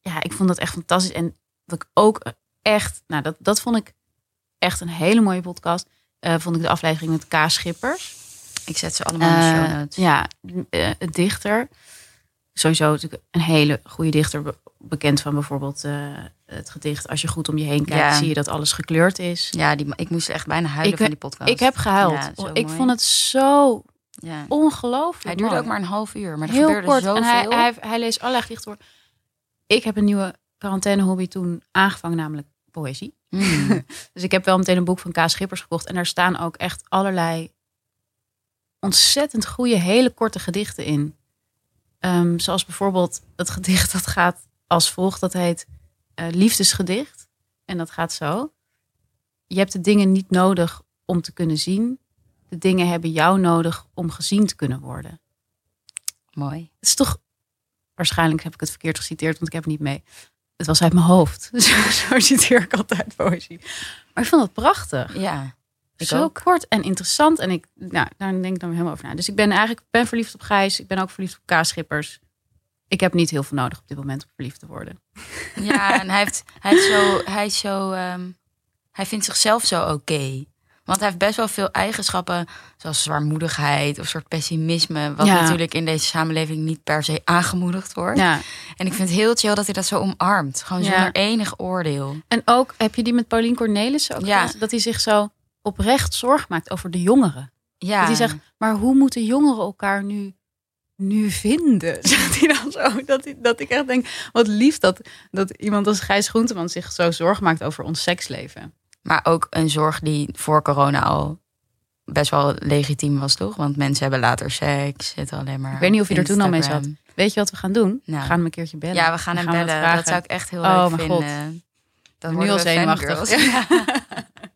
Speaker 2: ja, ik vond dat echt fantastisch. En wat ik ook echt, nou, dat, dat vond ik echt een hele mooie podcast. Eh, vond ik de aflevering met K. Schippers.
Speaker 1: Ik zet ze allemaal in de
Speaker 2: Eh,
Speaker 1: show notes.
Speaker 2: Ja, eh, een dichter. Sowieso natuurlijk een hele goede dichter. be- Bekend van bijvoorbeeld eh, het gedicht Als je goed om je heen kijkt,
Speaker 1: Ja.
Speaker 2: zie je dat alles gekleurd is.
Speaker 1: Ja, die, ik moest echt bijna huilen
Speaker 2: Ik-
Speaker 1: van die podcast.
Speaker 2: Ik heb gehuild.
Speaker 1: Ja, zo
Speaker 2: ik
Speaker 1: mooi.
Speaker 2: vond het zo
Speaker 1: Ja.
Speaker 2: ongelooflijk.
Speaker 1: Hij duurde
Speaker 2: mooi.
Speaker 1: ook maar een half uur, maar er
Speaker 2: heel
Speaker 1: gebeurde
Speaker 2: kort.
Speaker 1: zoveel.
Speaker 2: En hij, hij, hij leest allerlei gedichten voor. Ik heb een nieuwe quarantaine-hobby toen aangevangen, namelijk poëzie.
Speaker 1: Mm.
Speaker 2: Dus ik heb wel meteen een boek van K. Schippers gekocht. En daar staan ook echt allerlei ontzettend goede, hele korte gedichten in. Ehm, zoals bijvoorbeeld het gedicht dat gaat als volgt. Dat heet eh, Liefdesgedicht. En dat gaat zo. Je hebt de dingen niet nodig om te kunnen zien. De dingen hebben jou nodig om gezien te kunnen worden.
Speaker 1: Mooi.
Speaker 2: Het is toch... Waarschijnlijk heb ik het verkeerd geciteerd, want ik heb het niet mee. Het was uit mijn hoofd. Zo, zo citeer ik altijd poëzie. Maar ik vond het prachtig.
Speaker 1: Ja. Ik
Speaker 2: zo
Speaker 1: ook.
Speaker 2: kort en interessant. En ik, nou, daar denk ik dan helemaal over na. Dus ik ben eigenlijk ben verliefd op Gijs. Ik ben ook verliefd op K-schippers. Ik heb niet heel veel nodig op dit moment om verliefd te worden.
Speaker 1: Ja, en hij, heeft, hij, is zo, hij, is zo, ehm, hij vindt zichzelf zo oké. Want hij heeft best wel veel eigenschappen, zoals zwaarmoedigheid of soort pessimisme. Wat
Speaker 2: Ja.
Speaker 1: natuurlijk in deze samenleving niet per se aangemoedigd wordt.
Speaker 2: Ja.
Speaker 1: En ik vind het heel chill dat hij dat zo omarmt. Gewoon
Speaker 2: Ja.
Speaker 1: zonder enig oordeel.
Speaker 2: En ook, heb je die met Paulien Cornelissen ook
Speaker 1: Ja.
Speaker 2: gelezen? Dat hij zich zo oprecht zorg maakt over de jongeren.
Speaker 1: Ja.
Speaker 2: Dat hij zegt, maar hoe moeten jongeren elkaar nu, nu vinden? Zegt hij dan zo. Dat, hij, dat ik echt denk, wat lief dat, dat iemand als Gijs Groenteman zich zo zorg maakt over ons seksleven.
Speaker 1: Maar ook een zorg die voor corona al best wel legitiem was, toch? Want mensen hebben later seks, zitten alleen maar.
Speaker 2: Ik weet niet of je
Speaker 1: op
Speaker 2: er toen al mee zat.
Speaker 1: Instagram.
Speaker 2: Weet je wat we gaan doen?
Speaker 1: Nou.
Speaker 2: we gaan hem een keertje bellen.
Speaker 1: Ja, we gaan hem
Speaker 2: hem
Speaker 1: bellen.
Speaker 2: wat
Speaker 1: dat zou ik echt heel
Speaker 2: Oh,
Speaker 1: leuk
Speaker 2: mijn
Speaker 1: vinden. Dan
Speaker 2: Nu
Speaker 1: worden
Speaker 2: al
Speaker 1: we
Speaker 2: zenuwachtig.
Speaker 1: fangirls. Ja.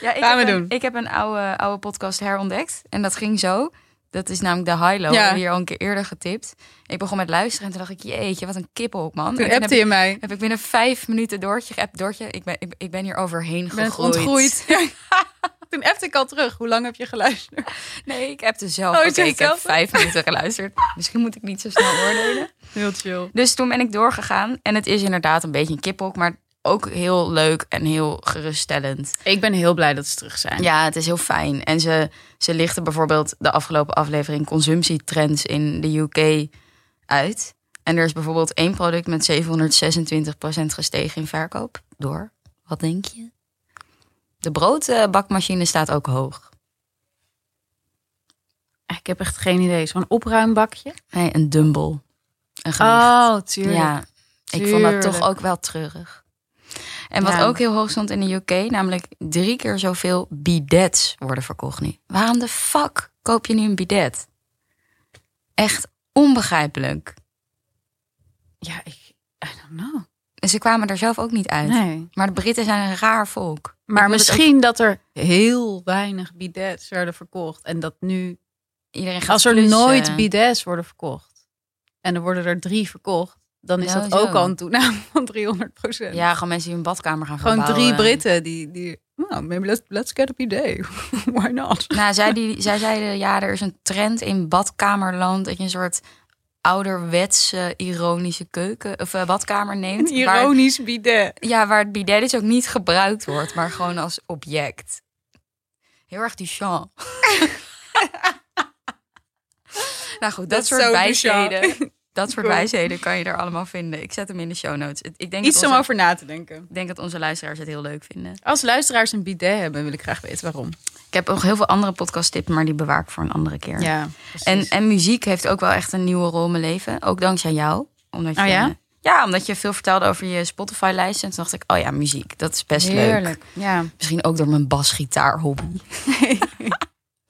Speaker 1: ja, ik
Speaker 2: Gaan
Speaker 1: heb
Speaker 2: we
Speaker 1: een-
Speaker 2: doen.
Speaker 1: Ik heb een oude, oude podcast herontdekt. En dat ging zo. Dat is namelijk de High Low.
Speaker 2: Ja.
Speaker 1: We hebben hier al een keer eerder getipt. Ik begon met luisteren en toen dacht ik... Jeetje, wat een kippel, man.
Speaker 2: Toen
Speaker 1: en toen
Speaker 2: appte je mij.
Speaker 1: heb, heb ik binnen vijf minuten Doortje geappt. Doortje, ik ben, ik, ik ben hier overheen
Speaker 2: Ik ben
Speaker 1: gegroeid.
Speaker 2: ontgroeid. toen appte ik al terug. Hoe lang heb je geluisterd?
Speaker 1: Nee, ik appte zelf.
Speaker 2: Oh,
Speaker 1: Oké,
Speaker 2: zei je
Speaker 1: ik heb
Speaker 2: zelf?
Speaker 1: vijf minuten geluisterd. Misschien moet ik niet zo snel oordelen.
Speaker 2: Heel chill.
Speaker 1: Dus toen ben ik doorgegaan. En het is inderdaad een beetje een kippenhok, maar ook heel leuk en heel geruststellend.
Speaker 2: Ik ben heel blij dat ze terug zijn.
Speaker 1: Ja, het is heel fijn. En ze, ze lichten bijvoorbeeld de afgelopen aflevering consumptietrends in de UK uit. En er is bijvoorbeeld één product met 726% gestegen in verkoop. Door. Wat denk je? De broodbakmachine staat ook hoog.
Speaker 2: Ik heb echt geen idee. Zo'n opruimbakje?
Speaker 1: Nee, een dumbbell. Een gewicht.
Speaker 2: Oh, tuurlijk.
Speaker 1: Ja, ik vond dat toch
Speaker 2: Tuurlijk.
Speaker 1: ook wel treurig. En wat
Speaker 2: Ja.
Speaker 1: ook heel hoog stond in de UK, namelijk drie keer zoveel bidets worden verkocht nu. Waarom de fuck koop je nu een bidet? Echt onbegrijpelijk.
Speaker 2: Ja, ik... I don't know.
Speaker 1: En ze kwamen er zelf ook niet uit.
Speaker 2: Nee.
Speaker 1: Maar de Britten zijn een raar volk. Ik
Speaker 2: Maar
Speaker 1: wil het
Speaker 2: misschien dat er heel weinig bidets werden verkocht. En dat nu,
Speaker 1: ook- iedereen gaat
Speaker 2: als er
Speaker 1: klussen.
Speaker 2: nooit bidets worden verkocht. En er worden er drie verkocht. Dan is
Speaker 1: Nou,
Speaker 2: dat
Speaker 1: zo.
Speaker 2: ook al een toename van 300 procent.
Speaker 1: Ja, gewoon mensen die hun badkamer gaan
Speaker 2: Gewoon drie
Speaker 1: verbouwen.
Speaker 2: Britten die... die nou, maybe let's, let's get a bidet. Why not?
Speaker 1: Nou, zij, die, zij zeiden, ja, er is een trend in badkamerland dat je een soort ouderwetse ironische keuken of eh, badkamer neemt.
Speaker 2: Een
Speaker 1: waar-
Speaker 2: ironisch bidet.
Speaker 1: Ja, waar het bidet dus ook niet gebruikt wordt, maar gewoon als object. Heel erg Duchamp. nou goed, dat,
Speaker 2: Dat is
Speaker 1: soort
Speaker 2: zo
Speaker 1: wijsheden. Dat soort
Speaker 2: Goed.
Speaker 1: wijsheden kan je er allemaal vinden. Ik zet hem in de show notes. Het- Ik denk,
Speaker 2: Iets
Speaker 1: dat
Speaker 2: om
Speaker 1: onze,
Speaker 2: over na te denken.
Speaker 1: ik denk dat onze luisteraars het heel leuk vinden.
Speaker 2: Als luisteraars een bidet hebben, wil ik graag weten waarom.
Speaker 1: Ik heb nog heel veel andere podcasttips, maar die bewaar ik voor een andere keer.
Speaker 2: Ja,
Speaker 1: en,
Speaker 2: precies.
Speaker 1: en muziek heeft ook wel echt een nieuwe rol in mijn leven. Ook dankzij jou. Omdat je,
Speaker 2: Oh ja?
Speaker 1: Ja, omdat je veel vertelde over je Spotify-lijst. En toen dacht ik, oh ja, muziek, dat is best leuk.
Speaker 2: Heerlijk. Ja.
Speaker 1: Misschien ook door mijn basgitaar-hobby.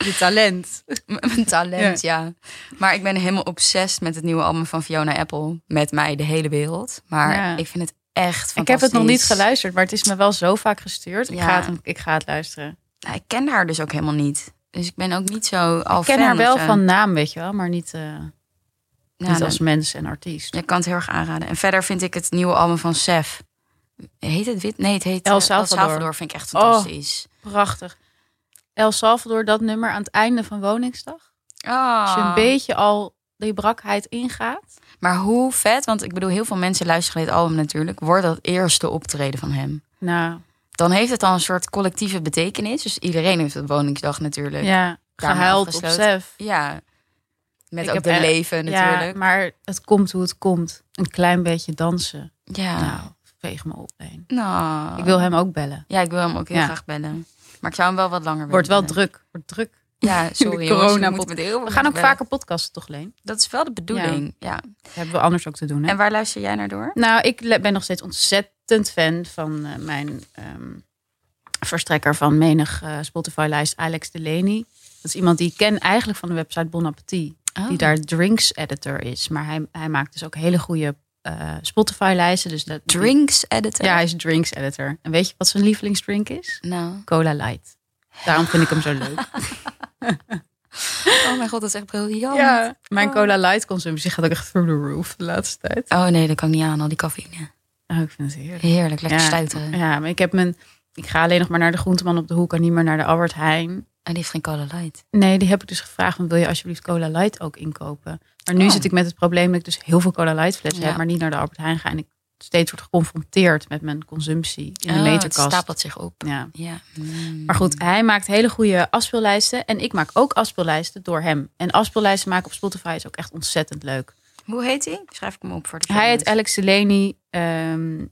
Speaker 2: Je talent.
Speaker 1: Mijn talent, ja. Maar ik ben helemaal obsessed met het nieuwe album van Fiona Apple. Met mij, de hele wereld. Maar
Speaker 2: Ja.
Speaker 1: ik vind het echt fantastisch.
Speaker 2: Ik heb het nog niet geluisterd, maar het is me wel zo vaak gestuurd. Ik,
Speaker 1: Ja.
Speaker 2: ga het, ik ga het luisteren.
Speaker 1: Nou, ik ken haar dus ook helemaal niet. Dus ik ben ook niet zo al
Speaker 2: ik ken
Speaker 1: fan
Speaker 2: haar
Speaker 1: of
Speaker 2: wel
Speaker 1: zo. nou,
Speaker 2: van naam, weet je wel, maar niet, eh,
Speaker 1: Ja,
Speaker 2: niet
Speaker 1: dan-
Speaker 2: als mens en artiest.
Speaker 1: Ja, ik kan het heel erg aanraden. En verder vind ik het nieuwe album van Sef. Heet het wit? Nee, het heet eh,
Speaker 2: El Salvador.
Speaker 1: vind ik echt
Speaker 2: Oh.
Speaker 1: fantastisch.
Speaker 2: Prachtig. El Salvador, dat nummer aan het einde van Woningsdag. Als je een
Speaker 1: Ah.
Speaker 2: beetje al die brakheid ingaat.
Speaker 1: Maar hoe vet, want ik bedoel, heel veel mensen luisteren dit album natuurlijk. Wordt dat eerste optreden van hem?
Speaker 2: Nou,
Speaker 1: Dan heeft het al een soort collectieve betekenis. Dus iedereen heeft op Woningsdag natuurlijk.
Speaker 2: ja,
Speaker 1: Daarmee
Speaker 2: gehuild op
Speaker 1: afgesloten.
Speaker 2: Sef.
Speaker 1: Ja. Met
Speaker 2: Ik
Speaker 1: ook
Speaker 2: heb
Speaker 1: de
Speaker 2: echt-
Speaker 1: leven natuurlijk.
Speaker 2: Ja, maar het komt hoe het komt. Een klein beetje dansen.
Speaker 1: Ja.
Speaker 2: Nou, veeg me op. Heen.
Speaker 1: Nou.
Speaker 2: Ik wil hem ook bellen.
Speaker 1: Ja, ik wil hem ook heel
Speaker 2: Ja.
Speaker 1: graag bellen. Maar ik zou hem wel wat langer
Speaker 2: Wordt wel
Speaker 1: willen bellen.
Speaker 2: druk. Wordt druk.
Speaker 1: Ja, sorry.
Speaker 2: De
Speaker 1: jongens, we
Speaker 2: corona-
Speaker 1: moeten met heel veel
Speaker 2: We gaan ook
Speaker 1: mensen bellen.
Speaker 2: vaker podcasten, toch, Leen?
Speaker 1: Dat is wel de bedoeling. Ja.
Speaker 2: Dat hebben we anders ook te doen. Hè?
Speaker 1: En waar luister jij naar door?
Speaker 2: Nou, ik le- ben nog steeds ontzettend fan van eh, mijn ehm, verstrekker van menig eh, Spotify-lijst, Alex Delaney. Dat is iemand die ik ken eigenlijk van de website Bon Appetit, die
Speaker 1: Oh.
Speaker 2: daar drinks-editor is. Maar hij, hij maakt dus ook hele goede eh, Spotify-lijsten. Dus dat, die-
Speaker 1: Drinks editor.
Speaker 2: Ja, hij is drinks-editor. En weet je wat zijn lievelingsdrink is?
Speaker 1: Nou.
Speaker 2: Cola Light. Daarom vind ik hem zo leuk.
Speaker 1: Oh mijn god, dat is echt briljant.
Speaker 2: Mijn
Speaker 1: Oh.
Speaker 2: Cola Light consumptie gaat ook echt through the roof de laatste tijd.
Speaker 1: Oh nee, dat kan ik niet aan, al die cafeïne.
Speaker 2: Oh, ik vind het heerlijk.
Speaker 1: Heerlijk, lekker
Speaker 2: Ja.
Speaker 1: stuiteren.
Speaker 2: Ja, maar ik heb mijn. Ik ga alleen nog maar naar de groenteman op de hoek en niet meer naar de Albert Heijn.
Speaker 1: En die heeft geen cola light.
Speaker 2: Nee, die heb ik dus gevraagd. van, wil je alsjeblieft Cola Light ook inkopen? Maar nu
Speaker 1: Oh.
Speaker 2: zit ik met het probleem dat ik dus heel veel Cola Light flessen
Speaker 1: Ja.
Speaker 2: heb, maar niet naar de Albert Heijn ga. En ik steeds word geconfronteerd met mijn consumptie in de
Speaker 1: Oh, Het
Speaker 2: meterkast.
Speaker 1: stapelt zich op.
Speaker 2: Ja.
Speaker 1: Ja. Mm.
Speaker 2: Maar goed, hij maakt hele goede afspeellijsten. En ik maak ook afspeellijsten door hem. En afspeellijsten maken op Spotify is ook echt ontzettend leuk.
Speaker 1: Hoe heet hij? Schrijf ik hem op voor de
Speaker 2: Hij heet
Speaker 1: show notes.
Speaker 2: Alex Delaney. ehm,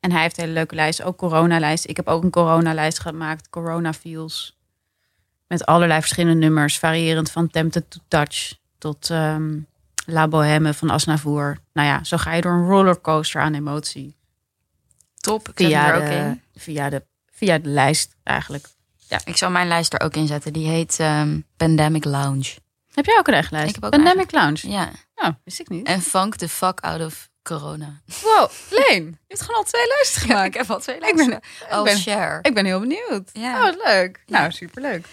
Speaker 2: en hij heeft hele leuke lijsten. Ook coronalijd. Ik heb ook een coronalijd gemaakt. Corona feels. Met allerlei verschillende nummers. Variërend van Tempted to Touch. Tot ehm, La Bohème van Asnavour. Nou ja, zo ga je door een rollercoaster aan emotie.
Speaker 1: Top. Ik zet hem
Speaker 2: Via
Speaker 1: er ook
Speaker 2: de,
Speaker 1: in.
Speaker 2: via, de, via de lijst eigenlijk.
Speaker 1: Ik zal mijn lijst er ook in zetten. Die heet ehm, Pandemic Lounge.
Speaker 2: Heb jij ook een eigen lijst?
Speaker 1: Ik heb ook een
Speaker 2: Pandemic Lounge.
Speaker 1: Ja.
Speaker 2: Nou, wist ik niet.
Speaker 1: En funk the fuck out of corona.
Speaker 2: Wow, Leen. Je hebt gewoon al twee lijsten gemaakt.
Speaker 1: ik heb al twee
Speaker 2: Ik ben-
Speaker 1: lijsten. Oh,
Speaker 2: ben-
Speaker 1: share.
Speaker 2: Ik ben heel benieuwd.
Speaker 1: Ja.
Speaker 2: Oh, wat leuk.
Speaker 1: Ja.
Speaker 2: Nou, superleuk.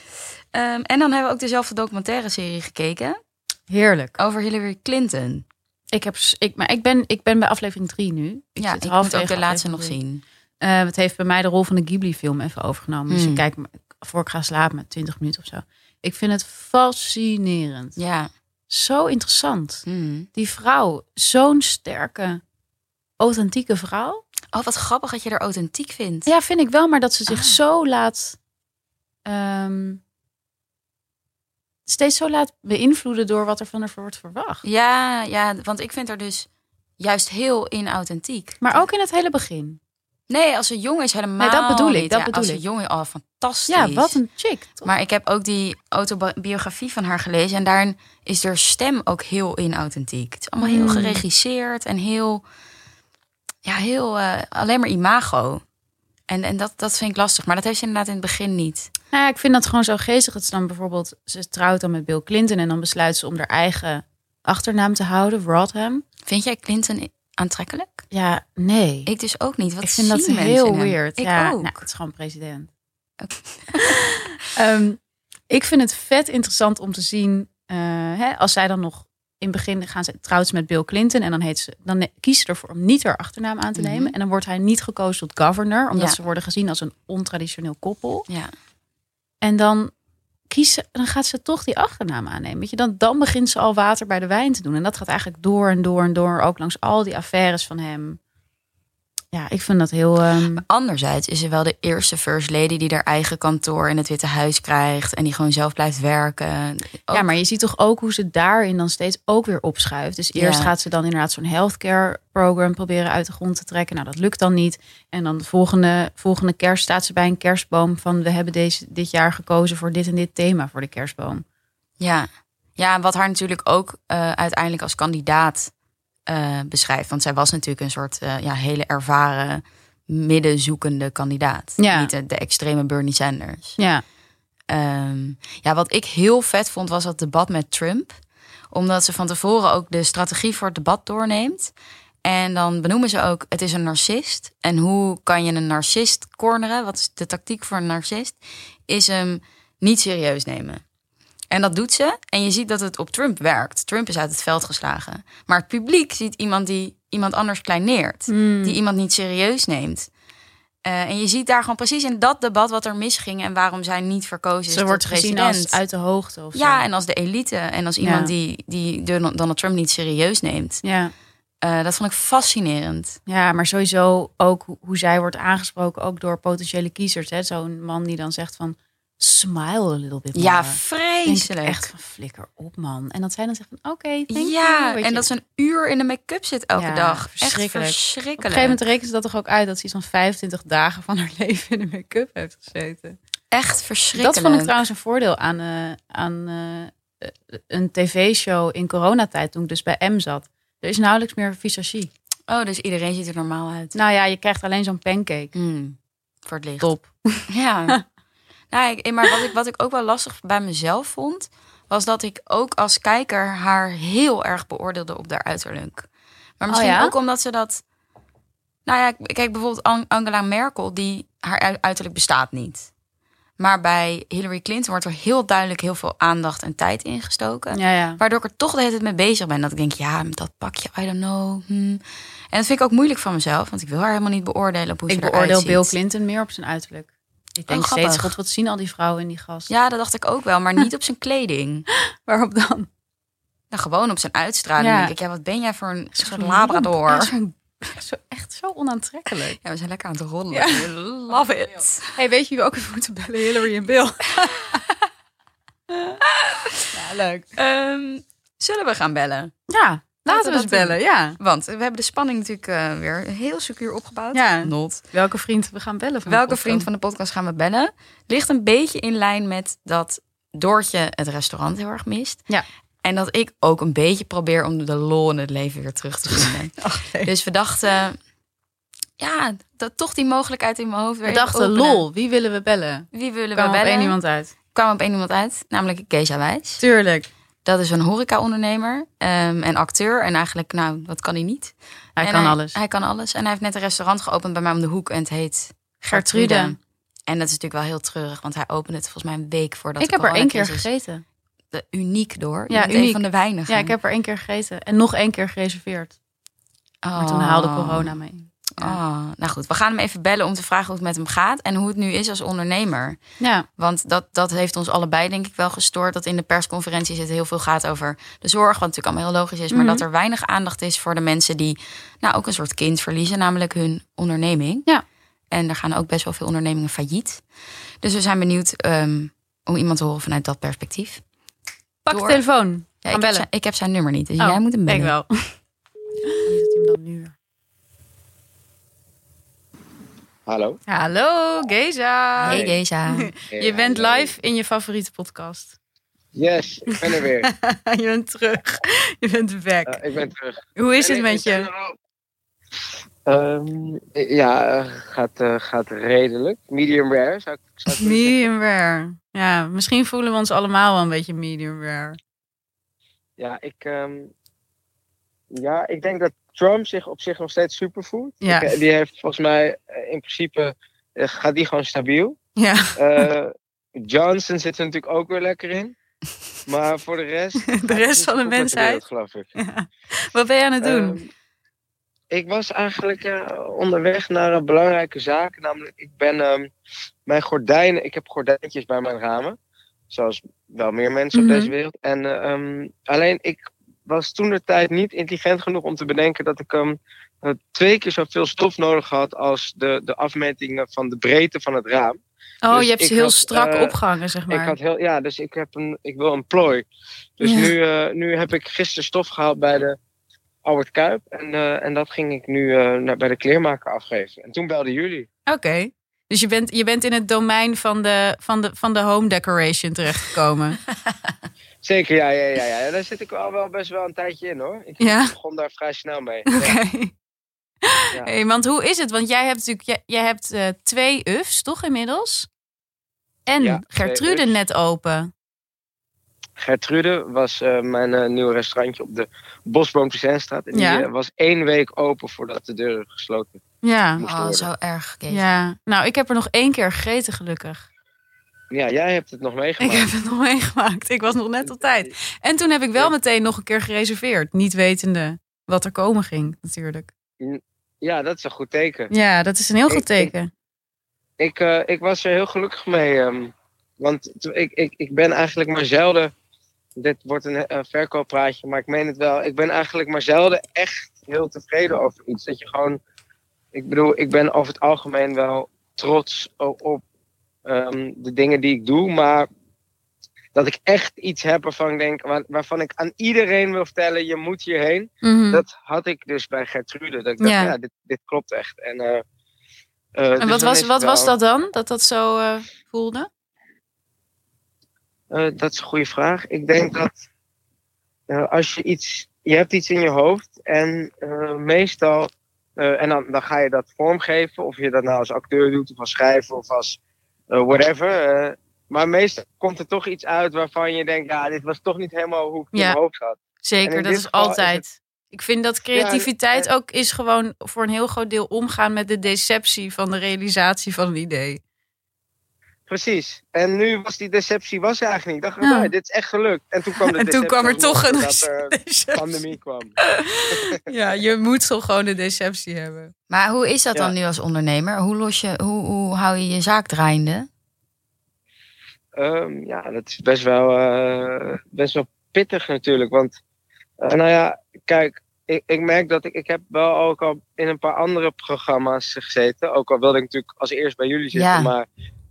Speaker 1: Ehm, en dan hebben we ook dezelfde documentaire serie gekeken.
Speaker 2: Heerlijk.
Speaker 1: Over Hillary Clinton.
Speaker 2: Ik, heb, s- ik, maar ik, ben, ik ben bij aflevering 3 nu. Ik
Speaker 1: ja,
Speaker 2: zit
Speaker 1: ik moet
Speaker 2: halverwege
Speaker 1: ook de laatste nog
Speaker 2: aflevering
Speaker 1: zien.
Speaker 2: drie. Eh, het heeft bij mij de rol van de Ghibli-film even overgenomen. Dus
Speaker 1: Hmm.
Speaker 2: ik kijk me- voor ik ga slapen met 20 minuten of zo. Ik vind het fascinerend.
Speaker 1: Ja.
Speaker 2: Zo interessant.
Speaker 1: Hmm.
Speaker 2: Die vrouw, zo'n sterke, authentieke vrouw.
Speaker 1: Oh, wat grappig dat je er authentiek vindt.
Speaker 2: Ja, vind ik wel, maar dat ze zich
Speaker 1: Ah.
Speaker 2: zo laat. ehm, steeds zo laat beïnvloeden door wat er van haar wordt verwacht.
Speaker 1: Ja, ja, want ik vind haar dus juist heel inauthentiek.
Speaker 2: Maar ook in het hele begin.
Speaker 1: Nee, als ze jong is helemaal
Speaker 2: Nee, dat bedoel ik,
Speaker 1: niet.
Speaker 2: dat
Speaker 1: Ja,
Speaker 2: bedoel
Speaker 1: als
Speaker 2: ik.
Speaker 1: ze jong is, oh, fantastisch.
Speaker 2: Ja, wat een chick. toch?
Speaker 1: Maar ik heb ook die autobiografie van haar gelezen. En daarin is haar stem ook heel inauthentiek. Het is allemaal heel
Speaker 2: Mm.
Speaker 1: geregisseerd en heel... Ja, heel... eh, alleen maar imago. En, en dat, dat vind ik lastig. Maar dat heeft ze inderdaad in het begin niet.
Speaker 2: Nou ja, ik vind dat gewoon zo geestig. Dat ze dan bijvoorbeeld, ze trouwt dan met Bill Clinton en dan besluit ze om haar eigen achternaam te houden, Rodham.
Speaker 1: Vind jij Clinton aantrekkelijk?
Speaker 2: Ja, nee.
Speaker 1: Ik dus ook niet. Wat
Speaker 2: Ik vind
Speaker 1: zien
Speaker 2: dat
Speaker 1: mensen in
Speaker 2: heel
Speaker 1: hem?
Speaker 2: weird.
Speaker 1: Ik
Speaker 2: ja,
Speaker 1: ook.
Speaker 2: nou, het is gewoon president. Ehm, ik vind het vet interessant om te zien, eh, hè, als zij dan nog in het begin gaan ze trouwt ze met Bill Clinton en dan, heet ze, dan ne- kiest ze ervoor om niet haar achternaam aan te
Speaker 1: Mhm.
Speaker 2: nemen. En dan wordt hij niet gekozen tot governor, omdat
Speaker 1: Ja.
Speaker 2: ze worden gezien als een ontraditioneel koppel.
Speaker 1: Ja.
Speaker 2: En dan, kiezen, dan gaat ze toch die achternaam aannemen. Weet je? Dan, dan begint ze al water bij de wijn te doen. En dat gaat eigenlijk door en door en door. Ook langs al die affaires van hem. Ja, ik vind dat heel... ehm,
Speaker 1: Anderzijds is ze wel de eerste first lady die haar eigen kantoor in het Witte Huis krijgt. En die gewoon zelf blijft werken. Oh, Ook-
Speaker 2: Ja, maar je ziet toch ook hoe ze daarin dan steeds ook weer opschuift. Dus eerst
Speaker 1: Ja.
Speaker 2: gaat ze dan inderdaad zo'n healthcare program proberen uit de grond te trekken. Nou, dat lukt dan niet. En dan de volgende, volgende kerst staat ze bij een kerstboom van... we hebben deze, dit jaar gekozen voor dit en dit thema voor de kerstboom.
Speaker 1: Ja, ja en wat haar natuurlijk ook eh, uiteindelijk als kandidaat eh, eh, beschrijft. Want zij was natuurlijk een soort eh, ja, hele ervaren, middenzoekende kandidaat.
Speaker 2: Ja.
Speaker 1: Niet de, de extreme Bernie Sanders.
Speaker 2: Ja.
Speaker 1: Ehm, ja, wat ik heel vet vond was dat debat met Trump. Omdat ze van tevoren ook de strategie voor het debat doorneemt. En dan benoemen ze ook, het is een narcist. En hoe kan je een narcist corneren? Wat is de tactiek voor een narcist? Is hem niet serieus nemen. En dat doet ze. En je ziet dat het op Trump werkt. Trump is uit het veld geslagen. Maar het publiek ziet iemand die iemand anders kleineert.
Speaker 2: Hmm.
Speaker 1: Die iemand niet serieus neemt. Eh, en je ziet daar gewoon precies in dat debat wat er misging en waarom zij niet verkozen is.
Speaker 2: Ze
Speaker 1: tot
Speaker 2: wordt gezien
Speaker 1: president.
Speaker 2: als uit de hoogte of zo.
Speaker 1: Ja, en als de elite. En als iemand
Speaker 2: Ja.
Speaker 1: die, die Donald Trump niet serieus neemt.
Speaker 2: ja.
Speaker 1: Eh, dat vond ik fascinerend.
Speaker 2: Ja, maar sowieso ook hoe- hoe zij wordt aangesproken, ook door potentiële kiezers. hè. Zo'n man die dan zegt van, smile a little bit
Speaker 1: Ja,
Speaker 2: more." Denk ik
Speaker 1: vreselijk.
Speaker 2: echt van, flikker op man. En dat zij dan zegt van, oké, thank you,
Speaker 1: ja,
Speaker 2: weet
Speaker 1: en
Speaker 2: je.
Speaker 1: dat ze een uur in de make-up zit elke
Speaker 2: Ja,
Speaker 1: dag. Echt
Speaker 2: verschrikkelijk.
Speaker 1: verschrikkelijk.
Speaker 2: Op een gegeven moment rekent ze dat toch ook uit... dat ze iets van 25 dagen van haar leven in de make-up heeft gezeten.
Speaker 1: Echt verschrikkelijk.
Speaker 2: Dat vond ik trouwens een voordeel aan, eh, aan eh, eh, een tv-show in coronatijd... toen ik dus bij M zat. Er is nauwelijks meer visagie.
Speaker 1: Oh, dus iedereen ziet er normaal uit.
Speaker 2: Nou ja, je krijgt alleen zo'n pancake.
Speaker 1: Hmm, voor het licht.
Speaker 2: Top.
Speaker 1: Ja. nou, ik, maar wat ik, wat ik ook wel lastig bij mezelf vond, was dat ik ook als kijker haar heel erg beoordeelde op haar uiterlijk. Maar
Speaker 2: Oh
Speaker 1: misschien
Speaker 2: ja?
Speaker 1: ook omdat ze dat. Nou ja, k- kijk bijvoorbeeld An- Angela Merkel, die haar ui- uiterlijk bestaat niet. Maar bij Hillary Clinton wordt er heel duidelijk heel veel aandacht en tijd in gestoken.
Speaker 2: Ja, ja.
Speaker 1: Waardoor ik er toch de hele tijd mee bezig ben. Dat ik denk, ja, dat pakje, I don't know. hmm. En dat vind ik ook moeilijk van mezelf. Want ik wil haar helemaal niet beoordelen op hoe
Speaker 2: Ik
Speaker 1: ze eruit
Speaker 2: beoordeel
Speaker 1: ziet.
Speaker 2: Bill Clinton meer op zijn uiterlijk. Ik denk
Speaker 1: grappig.
Speaker 2: steeds, god, wat zien al die vrouwen in die gast.
Speaker 1: Ja, dat dacht ik ook wel, maar niet op zijn kleding.
Speaker 2: Waarop dan?
Speaker 1: Nou, gewoon op zijn uitstraling.
Speaker 2: Ja.
Speaker 1: Denk ik, ja, wat ben jij voor een soort labrador?
Speaker 2: Ja, zo'n- zo, echt zo onaantrekkelijk.
Speaker 1: Ja, we zijn lekker aan het roddelen. Love it.
Speaker 2: hey, weet je wie we ook even moeten bellen? Hillary en Bill. ja, leuk.
Speaker 1: Ehm, zullen we gaan bellen?
Speaker 2: Ja, laten we
Speaker 1: dat
Speaker 2: eens bellen. Ja.
Speaker 1: Want we hebben de spanning natuurlijk eh, weer heel secuur opgebouwd.
Speaker 2: Ja.
Speaker 1: Not.
Speaker 2: Welke vriend we gaan bellen? Van de
Speaker 1: Welke
Speaker 2: podcast?
Speaker 1: vriend van de podcast gaan we bellen? Ligt een beetje in lijn met dat Doortje het restaurant heel erg mist.
Speaker 2: Ja.
Speaker 1: En dat ik ook een beetje probeer om de lol in het leven weer terug te vinden.
Speaker 2: Ach, nee.
Speaker 1: dus we dachten, ja, dat toch die mogelijkheid in mijn hoofd weer
Speaker 2: We
Speaker 1: even
Speaker 2: dachten,
Speaker 1: openen.
Speaker 2: lol, wie willen we bellen?
Speaker 1: Wie willen
Speaker 2: Kwam
Speaker 1: we
Speaker 2: op
Speaker 1: bellen?
Speaker 2: één iemand uit.
Speaker 1: Kwam op één iemand uit, namelijk Keesha Wijs.
Speaker 2: Tuurlijk.
Speaker 1: Dat is een horeca-ondernemer ehm, en acteur. En eigenlijk, nou, wat kan hij niet?
Speaker 2: Hij
Speaker 1: En
Speaker 2: kan alles.
Speaker 1: Hij kan alles. En hij heeft net een restaurant geopend bij mij om de hoek. En het heet
Speaker 2: Gertrude.
Speaker 1: Gertrude. En dat is natuurlijk wel heel treurig, want hij opende het volgens mij een week voordat
Speaker 2: ik
Speaker 1: de
Speaker 2: heb er één keer
Speaker 1: coronacrisis-
Speaker 2: gegeten.
Speaker 1: De- Uniek door.
Speaker 2: Ja,
Speaker 1: Ja,
Speaker 2: uniek.
Speaker 1: een van de weinigen.
Speaker 2: Ja, ik heb er één keer gegeten. En nog één keer gereserveerd. Maar toen
Speaker 1: Oh.
Speaker 2: haalde corona mee.
Speaker 1: Oh. Nou goed, we gaan hem even bellen om te vragen hoe het met hem gaat. En hoe het nu is als ondernemer.
Speaker 2: Ja,
Speaker 1: Want dat, dat heeft ons allebei denk ik wel gestoord. Dat in de persconferenties het heel veel gaat over de zorg. Wat natuurlijk allemaal heel logisch is.
Speaker 2: Mhm.
Speaker 1: Maar dat er weinig aandacht is voor de mensen die nou ook een soort kind verliezen. Namelijk hun onderneming.
Speaker 2: Ja.
Speaker 1: En er gaan ook best wel veel ondernemingen failliet. Dus we zijn benieuwd ehm, om iemand te horen vanuit dat perspectief.
Speaker 2: pak
Speaker 1: Door.
Speaker 2: de telefoon.
Speaker 1: Ja,
Speaker 2: Gaan
Speaker 1: ik, heb
Speaker 2: bellen.
Speaker 1: zijn, ik heb zijn nummer niet. Dus
Speaker 2: Oh,
Speaker 1: jij moet hem bellen.
Speaker 2: Ik wel.
Speaker 3: Hallo.
Speaker 2: Hallo, Geza.
Speaker 1: Hey
Speaker 3: Hey.
Speaker 1: Geza.
Speaker 2: Je bent live in je favoriete podcast.
Speaker 3: Yes, ik ben er weer.
Speaker 2: je bent terug. Je bent back.
Speaker 3: Eh, ik ben terug.
Speaker 2: Hoe is het
Speaker 3: En ik-
Speaker 2: met
Speaker 3: ik ben
Speaker 2: je?
Speaker 3: er ook. Ehm, ja, eh, gaat, eh, gaat redelijk. Medium rare zou ik, zou ik willen zeggen.
Speaker 2: Medium rare. Ja, misschien voelen we ons allemaal wel een beetje medium rare.
Speaker 3: Ja, ik, ehm, ja, ik denk dat Trump zich op zich nog steeds super voelt.
Speaker 2: Ja.
Speaker 3: Ik, eh, die heeft volgens mij eh, in principe, eh, gaat die gewoon stabiel.
Speaker 2: Ja,
Speaker 3: Eh, Johnson zit er natuurlijk ook weer lekker in. Maar voor de rest...
Speaker 2: de rest van de mensheid.
Speaker 3: geloof ik.
Speaker 2: Wat ben je aan het doen?
Speaker 3: Ehm, ik was eigenlijk eh, onderweg naar een belangrijke zaak. Namelijk, ik ben ehm, mijn gordijnen. Ik heb gordijntjes bij mijn ramen. Zoals wel meer mensen
Speaker 2: Mhm.
Speaker 3: op deze wereld. En eh, ehm, alleen ik was toen de tijd niet intelligent genoeg om te bedenken dat ik ehm, eh, twee keer zoveel stof nodig had als de, de afmetingen van de breedte van het raam.
Speaker 2: oh,
Speaker 3: dus
Speaker 2: je hebt ze
Speaker 3: ik
Speaker 2: heel
Speaker 3: had,
Speaker 2: strak
Speaker 3: eh,
Speaker 2: opgehangen, zeg maar.
Speaker 3: Ik had heel, ja, dus ik, heb een, ik wil een plooi. Dus
Speaker 2: Ja.
Speaker 3: nu, eh, nu heb ik gisteren stof gehaald bij de Albert Kuip. En, eh, en dat ging ik nu eh, naar, bij de kleermaker afgeven. En toen belden jullie.
Speaker 2: Oké. Dus je bent, je bent in het domein van de, van de, van de home decoration terechtgekomen.
Speaker 3: Zeker, ja, ja, ja, ja. Daar zit ik al wel best wel een tijdje in hoor. Ik
Speaker 1: Ja?
Speaker 3: begon daar vrij snel mee.
Speaker 1: Oké.
Speaker 3: Ja. Ja.
Speaker 2: Hey, want hoe is het? Want jij hebt natuurlijk jij, jij hebt, eh, twee UF's, toch inmiddels? En
Speaker 3: Ja, twee
Speaker 2: Gertrude
Speaker 3: Uf's.
Speaker 2: net open.
Speaker 3: Gertrude was eh, mijn eh, nieuwe restaurantje op de Bosboom Presentstraat. En die
Speaker 2: Ja.
Speaker 3: eh, was één week open voordat de deuren gesloten
Speaker 2: Ja.
Speaker 3: moesten
Speaker 1: Oh,
Speaker 3: worden.
Speaker 1: zo erg, Kees.
Speaker 2: ja. Nou, ik heb er nog één keer gegeten, gelukkig.
Speaker 3: Ja, jij hebt het nog
Speaker 2: Ik
Speaker 3: meegemaakt.
Speaker 2: heb het nog meegemaakt. Ik was nog net op tijd. En toen heb ik wel
Speaker 3: Ja.
Speaker 2: meteen nog een keer gereserveerd. Niet wetende wat er komen ging, natuurlijk.
Speaker 3: Ja, dat is een goed teken.
Speaker 2: Ja, dat is een heel
Speaker 3: Ik-
Speaker 2: goed
Speaker 3: ik-
Speaker 2: teken.
Speaker 3: Ik, eh, ik was er heel gelukkig mee. ehm, want t- ik, ik, ik ben eigenlijk maar zelden. Dit wordt een eh, verkooppraatje, maar ik meen het wel. Ik ben eigenlijk maar zelden echt heel tevreden over iets. Dat je gewoon. Ik bedoel, ik ben over het algemeen wel trots o- op ehm, de dingen die ik doe. Maar dat ik echt iets heb waarvan ik denk. waar- waarvan ik aan iedereen wil vertellen: je moet hierheen.
Speaker 2: Mhm.
Speaker 3: Dat had ik dus bij Gertrude. Dat ik dacht,
Speaker 2: Ja.
Speaker 3: ja, dit, dit klopt echt. En, eh, eh,
Speaker 2: en wat,
Speaker 3: dus dan is
Speaker 2: was,
Speaker 3: het
Speaker 2: wat
Speaker 3: wel-
Speaker 2: was dat dan? Dat dat zo eh, voelde?
Speaker 3: Eh, dat is een goede vraag. Ik denk dat eh, als je iets, je hebt iets in je hoofd en eh, meestal, eh, en dan, dan ga je dat vormgeven, of je dat nou als acteur doet, of als schrijver, of als eh, whatever. eh, maar meestal komt er toch iets uit waarvan je denkt, ja, dit was toch niet helemaal hoe ik het
Speaker 2: Ja.
Speaker 3: in mijn hoofd had. En
Speaker 2: Zeker,
Speaker 3: in
Speaker 2: dat
Speaker 3: dit
Speaker 2: is
Speaker 3: geval is
Speaker 2: altijd. Ik vind dat creativiteit ook is gewoon voor een heel groot deel omgaan met de deceptie van de realisatie van een idee.
Speaker 3: Precies. En nu was die deceptie was er eigenlijk niet. Ik dacht,
Speaker 2: Ja.
Speaker 3: nou, dit is echt gelukt. En toen kwam, de
Speaker 2: En toen kwam er
Speaker 3: deceptie
Speaker 2: toch een
Speaker 3: nog, doordat er
Speaker 2: deceptie.
Speaker 3: pandemie kwam.
Speaker 2: Dus, Ja, je moet zo gewoon een deceptie hebben.
Speaker 1: Maar hoe is dat
Speaker 3: Ja.
Speaker 1: dan nu als ondernemer? Hoe, los je, hoe, hoe hou je je zaak draaiende?
Speaker 3: Ehm, ja, dat is best wel, eh, best wel pittig natuurlijk. Want, eh, nou ja, kijk, ik, ik merk dat ik, ik heb wel ook al in een paar andere programma's gezeten. Ook al wilde ik natuurlijk als eerst bij jullie zitten,
Speaker 1: Ja.
Speaker 3: maar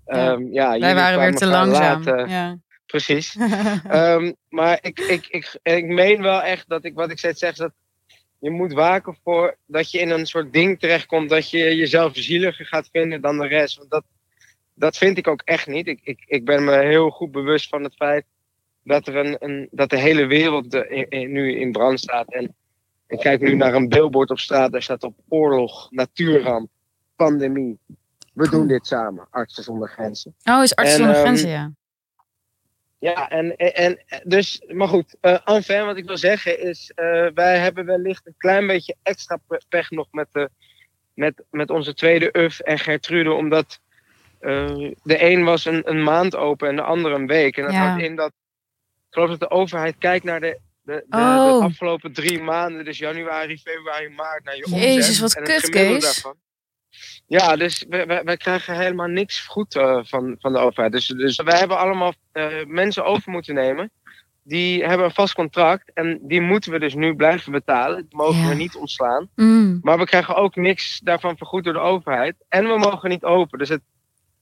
Speaker 3: ehm, ja,
Speaker 2: Wij
Speaker 3: jullie
Speaker 2: waren weer
Speaker 3: kwamen
Speaker 2: te
Speaker 3: vrij
Speaker 2: langzaam.
Speaker 3: laat, eh,
Speaker 2: Ja.
Speaker 3: Precies. Ehm, maar ik, ik, ik, ik meen wel echt dat ik wat ik steeds zeg, is dat je moet waken voor dat je in een soort ding terechtkomt dat je jezelf zieliger gaat vinden dan de rest. Want dat, dat vind ik ook echt niet. Ik, ik, ik ben me heel goed bewust van het feit dat, er een, een, dat de hele wereld eh, in- in- nu in brand staat. En ik kijk nu naar een billboard op straat, daar staat op oorlog, natuurramp, pandemie. We doen dit samen, artsen zonder grenzen.
Speaker 2: Oh, is arts
Speaker 3: En,
Speaker 2: zonder
Speaker 3: ehm,
Speaker 2: grenzen, ja.
Speaker 3: Ja, en, en, en- dus, maar goed, eh enfin, wat ik wil zeggen is, eh, wij hebben wellicht een klein beetje extra pe- pech nog met, de, met, met onze tweede UF en Gertrude, omdat eh, de een was een, een maand open en de andere een week. En dat
Speaker 2: Ja.
Speaker 3: houdt in dat, ik geloof dat de overheid kijkt naar de, de, de, de
Speaker 2: Oh.
Speaker 3: afgelopen drie maanden, dus januari, februari, maart, naar je omzet.
Speaker 2: Jezus, wat
Speaker 3: en
Speaker 2: kut,
Speaker 3: het gemiddelde
Speaker 2: Kees.
Speaker 3: daarvan. Ja, dus wij, wij, wij krijgen helemaal niks goed eh, van, van de overheid. Dus, dus wij hebben allemaal eh, mensen over moeten nemen. Die hebben een vast contract en die moeten we dus nu blijven betalen. Die mogen
Speaker 1: Ja.
Speaker 3: we niet ontslaan.
Speaker 2: Mm.
Speaker 3: Maar we krijgen ook niks daarvan vergoed door de overheid. En we mogen niet open. Dus het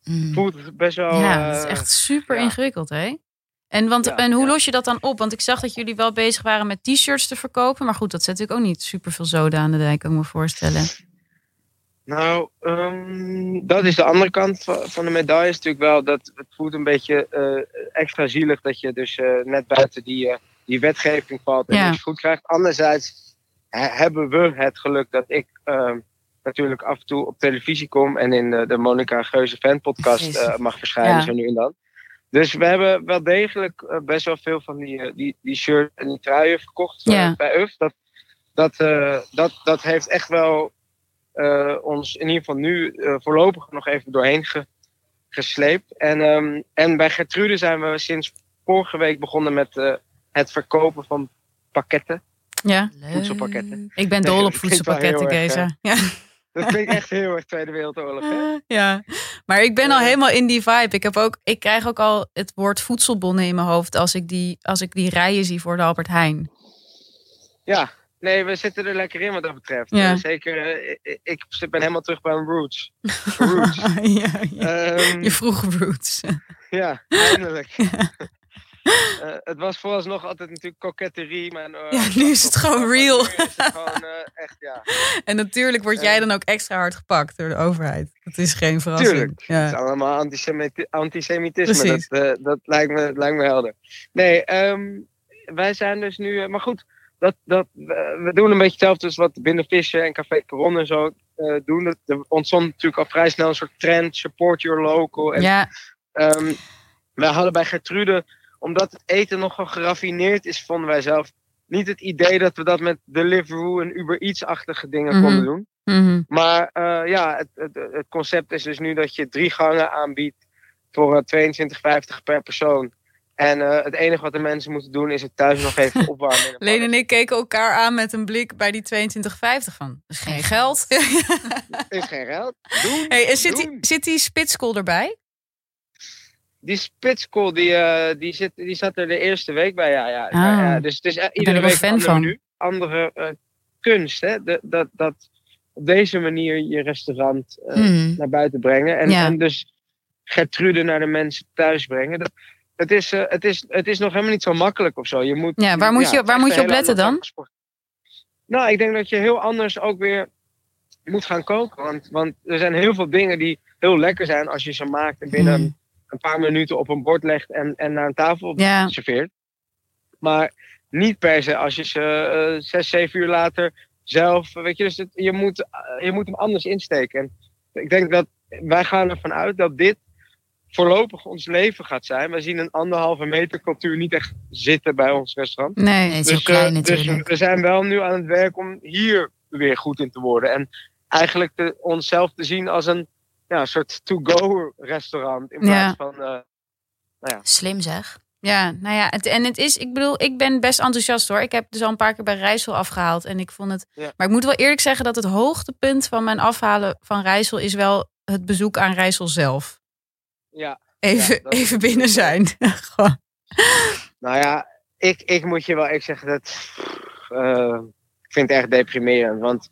Speaker 1: Mm.
Speaker 3: voelt best wel.
Speaker 2: ja, dat is
Speaker 3: eh,
Speaker 2: echt super
Speaker 3: ja.
Speaker 2: ingewikkeld, hè? En, want,
Speaker 3: Ja,
Speaker 2: en hoe
Speaker 3: ja.
Speaker 2: los je dat dan op? Want ik zag dat jullie wel bezig waren met t-shirts te verkopen. Maar goed, dat zet natuurlijk ook niet super veel zoden aan de dijk, kan ik me voorstellen.
Speaker 3: Nou, ehm, dat is de andere kant va- van de medaille. Is natuurlijk wel dat het voelt een beetje eh, extra zielig dat je dus eh, net buiten die, eh, die wetgeving valt en
Speaker 2: Ja.
Speaker 3: niks goed krijgt. Anderzijds he- hebben we het geluk dat ik ehm, natuurlijk af en toe op televisie kom en in de, de Monica Geuze fan podcast
Speaker 1: Precies.
Speaker 3: mag verschijnen
Speaker 2: Ja.
Speaker 3: zo nu en dan. Dus we hebben wel degelijk eh, best wel veel van die, eh, die, die shirt en die truien verkocht eh,
Speaker 2: Ja.
Speaker 3: bij UF. Dat, dat, eh, dat, dat heeft echt wel eh, ons in ieder geval nu eh, voorlopig nog even doorheen ge- gesleept. En, ehm, en bij Gertrude zijn we sinds vorige week begonnen met eh, het verkopen van pakketten.
Speaker 2: Ja,
Speaker 3: voedselpakketten.
Speaker 2: ik ben
Speaker 3: Nee,
Speaker 2: dol op
Speaker 3: dat klinkt wel
Speaker 2: voedselpakketten,
Speaker 3: heel erg,
Speaker 2: Kees. Ja.
Speaker 3: Dat klinkt echt heel erg Tweede Wereldoorlog. Hè?
Speaker 2: Ja, maar ik ben al
Speaker 3: Eh.
Speaker 2: helemaal in die vibe. Ik, heb ook, ik krijg ook al het woord voedselbonnen in mijn hoofd als ik die, als ik die rijen zie voor de Albert Heijn.
Speaker 3: Ja, nee, we zitten er lekker in wat dat betreft.
Speaker 2: Ja.
Speaker 3: Eh, zeker, eh, ik- ik zit- ben helemaal terug bij mijn roots. roots.
Speaker 2: ja, ja.
Speaker 3: Ehm,
Speaker 2: Je vroege roots.
Speaker 3: ja, eindelijk. Eh, het was vooralsnog altijd natuurlijk koketterie. Maar, eh,
Speaker 2: Ja, nu is het gewoon real.
Speaker 3: Nu is het gewoon eh, echt, ja.
Speaker 4: En natuurlijk word jij dan ook extra hard gepakt door de overheid. Dat is geen verrassing.
Speaker 3: Tuurlijk.
Speaker 4: Ja.
Speaker 3: Het is allemaal antisemiti- antisemitisme. Dat,
Speaker 4: Precies.
Speaker 3: eh, dat, lijkt me, dat lijkt me helder. Nee, ehm, wij zijn dus nu. eh, maar goed, dat, dat, eh, we doen een beetje hetzelfde als wat Binnenvissen en Café Coron en zo eh, doen. Dat- Er ontstond natuurlijk al vrij snel een soort trend: support your local. En,
Speaker 1: Ja,
Speaker 3: ehm, wij hadden bij Gertrude, omdat het eten nogal geraffineerd is, vonden wij zelf niet het idee dat we dat met Deliveroo en Uber Eats-achtige dingen
Speaker 1: Mhm.
Speaker 3: konden doen.
Speaker 1: mhm.
Speaker 3: Maar eh, ja, het, het, het concept is dus nu dat je drie gangen aanbiedt voor eh, 22,50 per persoon. En eh, het enige wat de mensen moeten doen is het thuis nog even opwarmen. in een
Speaker 4: Leen en ik keken elkaar aan met een blik bij die 22,50 van.
Speaker 2: Dus,
Speaker 4: Dat is geen geld.
Speaker 3: pan. Is geen geld. Doen.
Speaker 4: hey, en zit, die,
Speaker 3: Doen.
Speaker 4: zit die spitskool erbij?
Speaker 3: Die spitskool, die, eh, die, zit, die zat er de eerste week bij. Ja, ja. ja, ja. Dus het is eh, iedere
Speaker 2: Ah. ik wel fan
Speaker 3: week een ander
Speaker 2: van.
Speaker 3: menu. Andere eh, kunst, hè. De- dat, dat op deze manier je restaurant
Speaker 2: Hmm.
Speaker 3: eh,
Speaker 1: Mhm.
Speaker 3: naar buiten brengen. En,
Speaker 1: Ja.
Speaker 3: en dus Gertrude naar de mensen thuis brengen. Dat, het, is, eh, het, is, het is nog helemaal niet zo makkelijk of zo. Je moet,
Speaker 1: Ja, waar moet je-
Speaker 3: het
Speaker 1: waar
Speaker 3: is
Speaker 1: moet
Speaker 3: echt
Speaker 1: je
Speaker 3: een
Speaker 1: op
Speaker 3: hele
Speaker 1: letten
Speaker 3: andere
Speaker 1: dan?
Speaker 3: sport. Nou, ik denk dat je heel anders ook weer moet gaan koken. Want, want er zijn heel veel dingen die heel lekker zijn als je ze maakt en binnen
Speaker 1: Mm.
Speaker 3: een paar minuten op een bord legt en, en naar een tafel
Speaker 1: ja.
Speaker 3: serveert. Maar niet per se als je ze eh, zes, zeven uur later zelf. Weet je, dus het- je, moet, eh, je moet hem anders insteken. En ik denk dat wij gaan ervan uit dat dit voorlopig ons leven gaat zijn. We zien een anderhalve meter cultuur niet echt zitten bij ons restaurant.
Speaker 1: Nee, het is heel
Speaker 3: eh,
Speaker 1: klein
Speaker 3: dus
Speaker 1: natuurlijk.
Speaker 3: we zijn wel nu aan het werk om hier weer goed in te worden. En eigenlijk te, onszelf te zien als een ja, soort to-go restaurant. In plaats van eh,
Speaker 1: Slim zeg.
Speaker 2: Ja, nou ja, het, en het is, ik bedoel, ik ben best enthousiast hoor. Ik heb dus al een paar keer bij Rijssel afgehaald en ik vond het.
Speaker 3: Ja.
Speaker 2: Maar ik moet wel eerlijk zeggen dat het hoogtepunt van mijn afhalen van Rijssel is wel het bezoek aan Rijssel zelf.
Speaker 3: ja,
Speaker 2: Even,
Speaker 3: dat-
Speaker 2: even binnen zijn. Gewoon.
Speaker 3: Nou ja, ik, ik moet je wel ik zeg dat. eh, ik vind het echt deprimerend. Want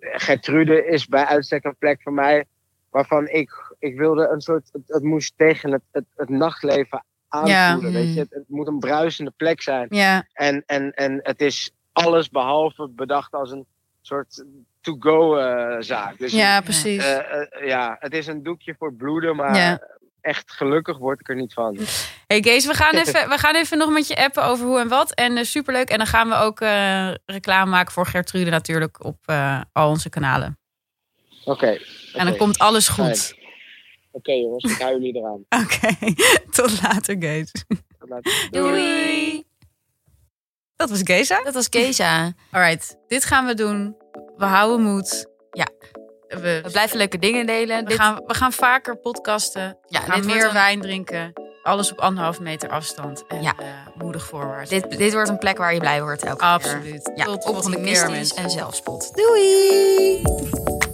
Speaker 3: Gertrude is bij uitstek een plek voor mij. waarvan ik, ik wilde een soort. Het, het moest tegen het, het, het nachtleven aanvoelen.
Speaker 1: Ja,
Speaker 3: weet
Speaker 1: mm.
Speaker 3: je? Het, het moet een bruisende plek zijn.
Speaker 2: Ja,
Speaker 3: En, en, en het is alles behalve bedacht als een soort to-go-zaak. dus
Speaker 2: ja precies.
Speaker 3: eh, eh, ja, het is een doekje voor bloeden, maar
Speaker 2: Ja.
Speaker 3: echt gelukkig word ik er niet van.
Speaker 2: Hey Kees, we gaan, even, we gaan even nog met je appen over hoe en wat. En eh, superleuk. En dan gaan we ook eh, reclame maken voor Gertrude natuurlijk op eh, al onze kanalen.
Speaker 3: Oké.
Speaker 2: En dan
Speaker 3: oké.
Speaker 2: komt alles goed.
Speaker 3: Fijn. Oké jongens, ik hou jullie eraan.
Speaker 2: Oké, tot later Kees.
Speaker 1: Doei.
Speaker 2: Dat was Geza.
Speaker 1: Dat was Keza.
Speaker 2: Alright, dit gaan we doen. We houden moed.
Speaker 1: Ja.
Speaker 2: We,
Speaker 1: We blijven leuke dingen delen.
Speaker 2: we
Speaker 1: Dit-
Speaker 2: gaan, we gaan vaker podcasten.
Speaker 1: ja,
Speaker 2: We gaan
Speaker 1: dit,
Speaker 2: meer
Speaker 1: wordt een,
Speaker 2: wijn drinken. Alles op anderhalf meter afstand. En
Speaker 1: Ja.
Speaker 2: eh, moedig voorwaarts.
Speaker 1: dit, dit wordt een plek waar je blij wordt elke keer.
Speaker 2: Absoluut.
Speaker 1: Ja,
Speaker 2: Tot de volgende keer
Speaker 1: optimistisch
Speaker 2: mensen.
Speaker 1: en zelfspot.
Speaker 4: Doei!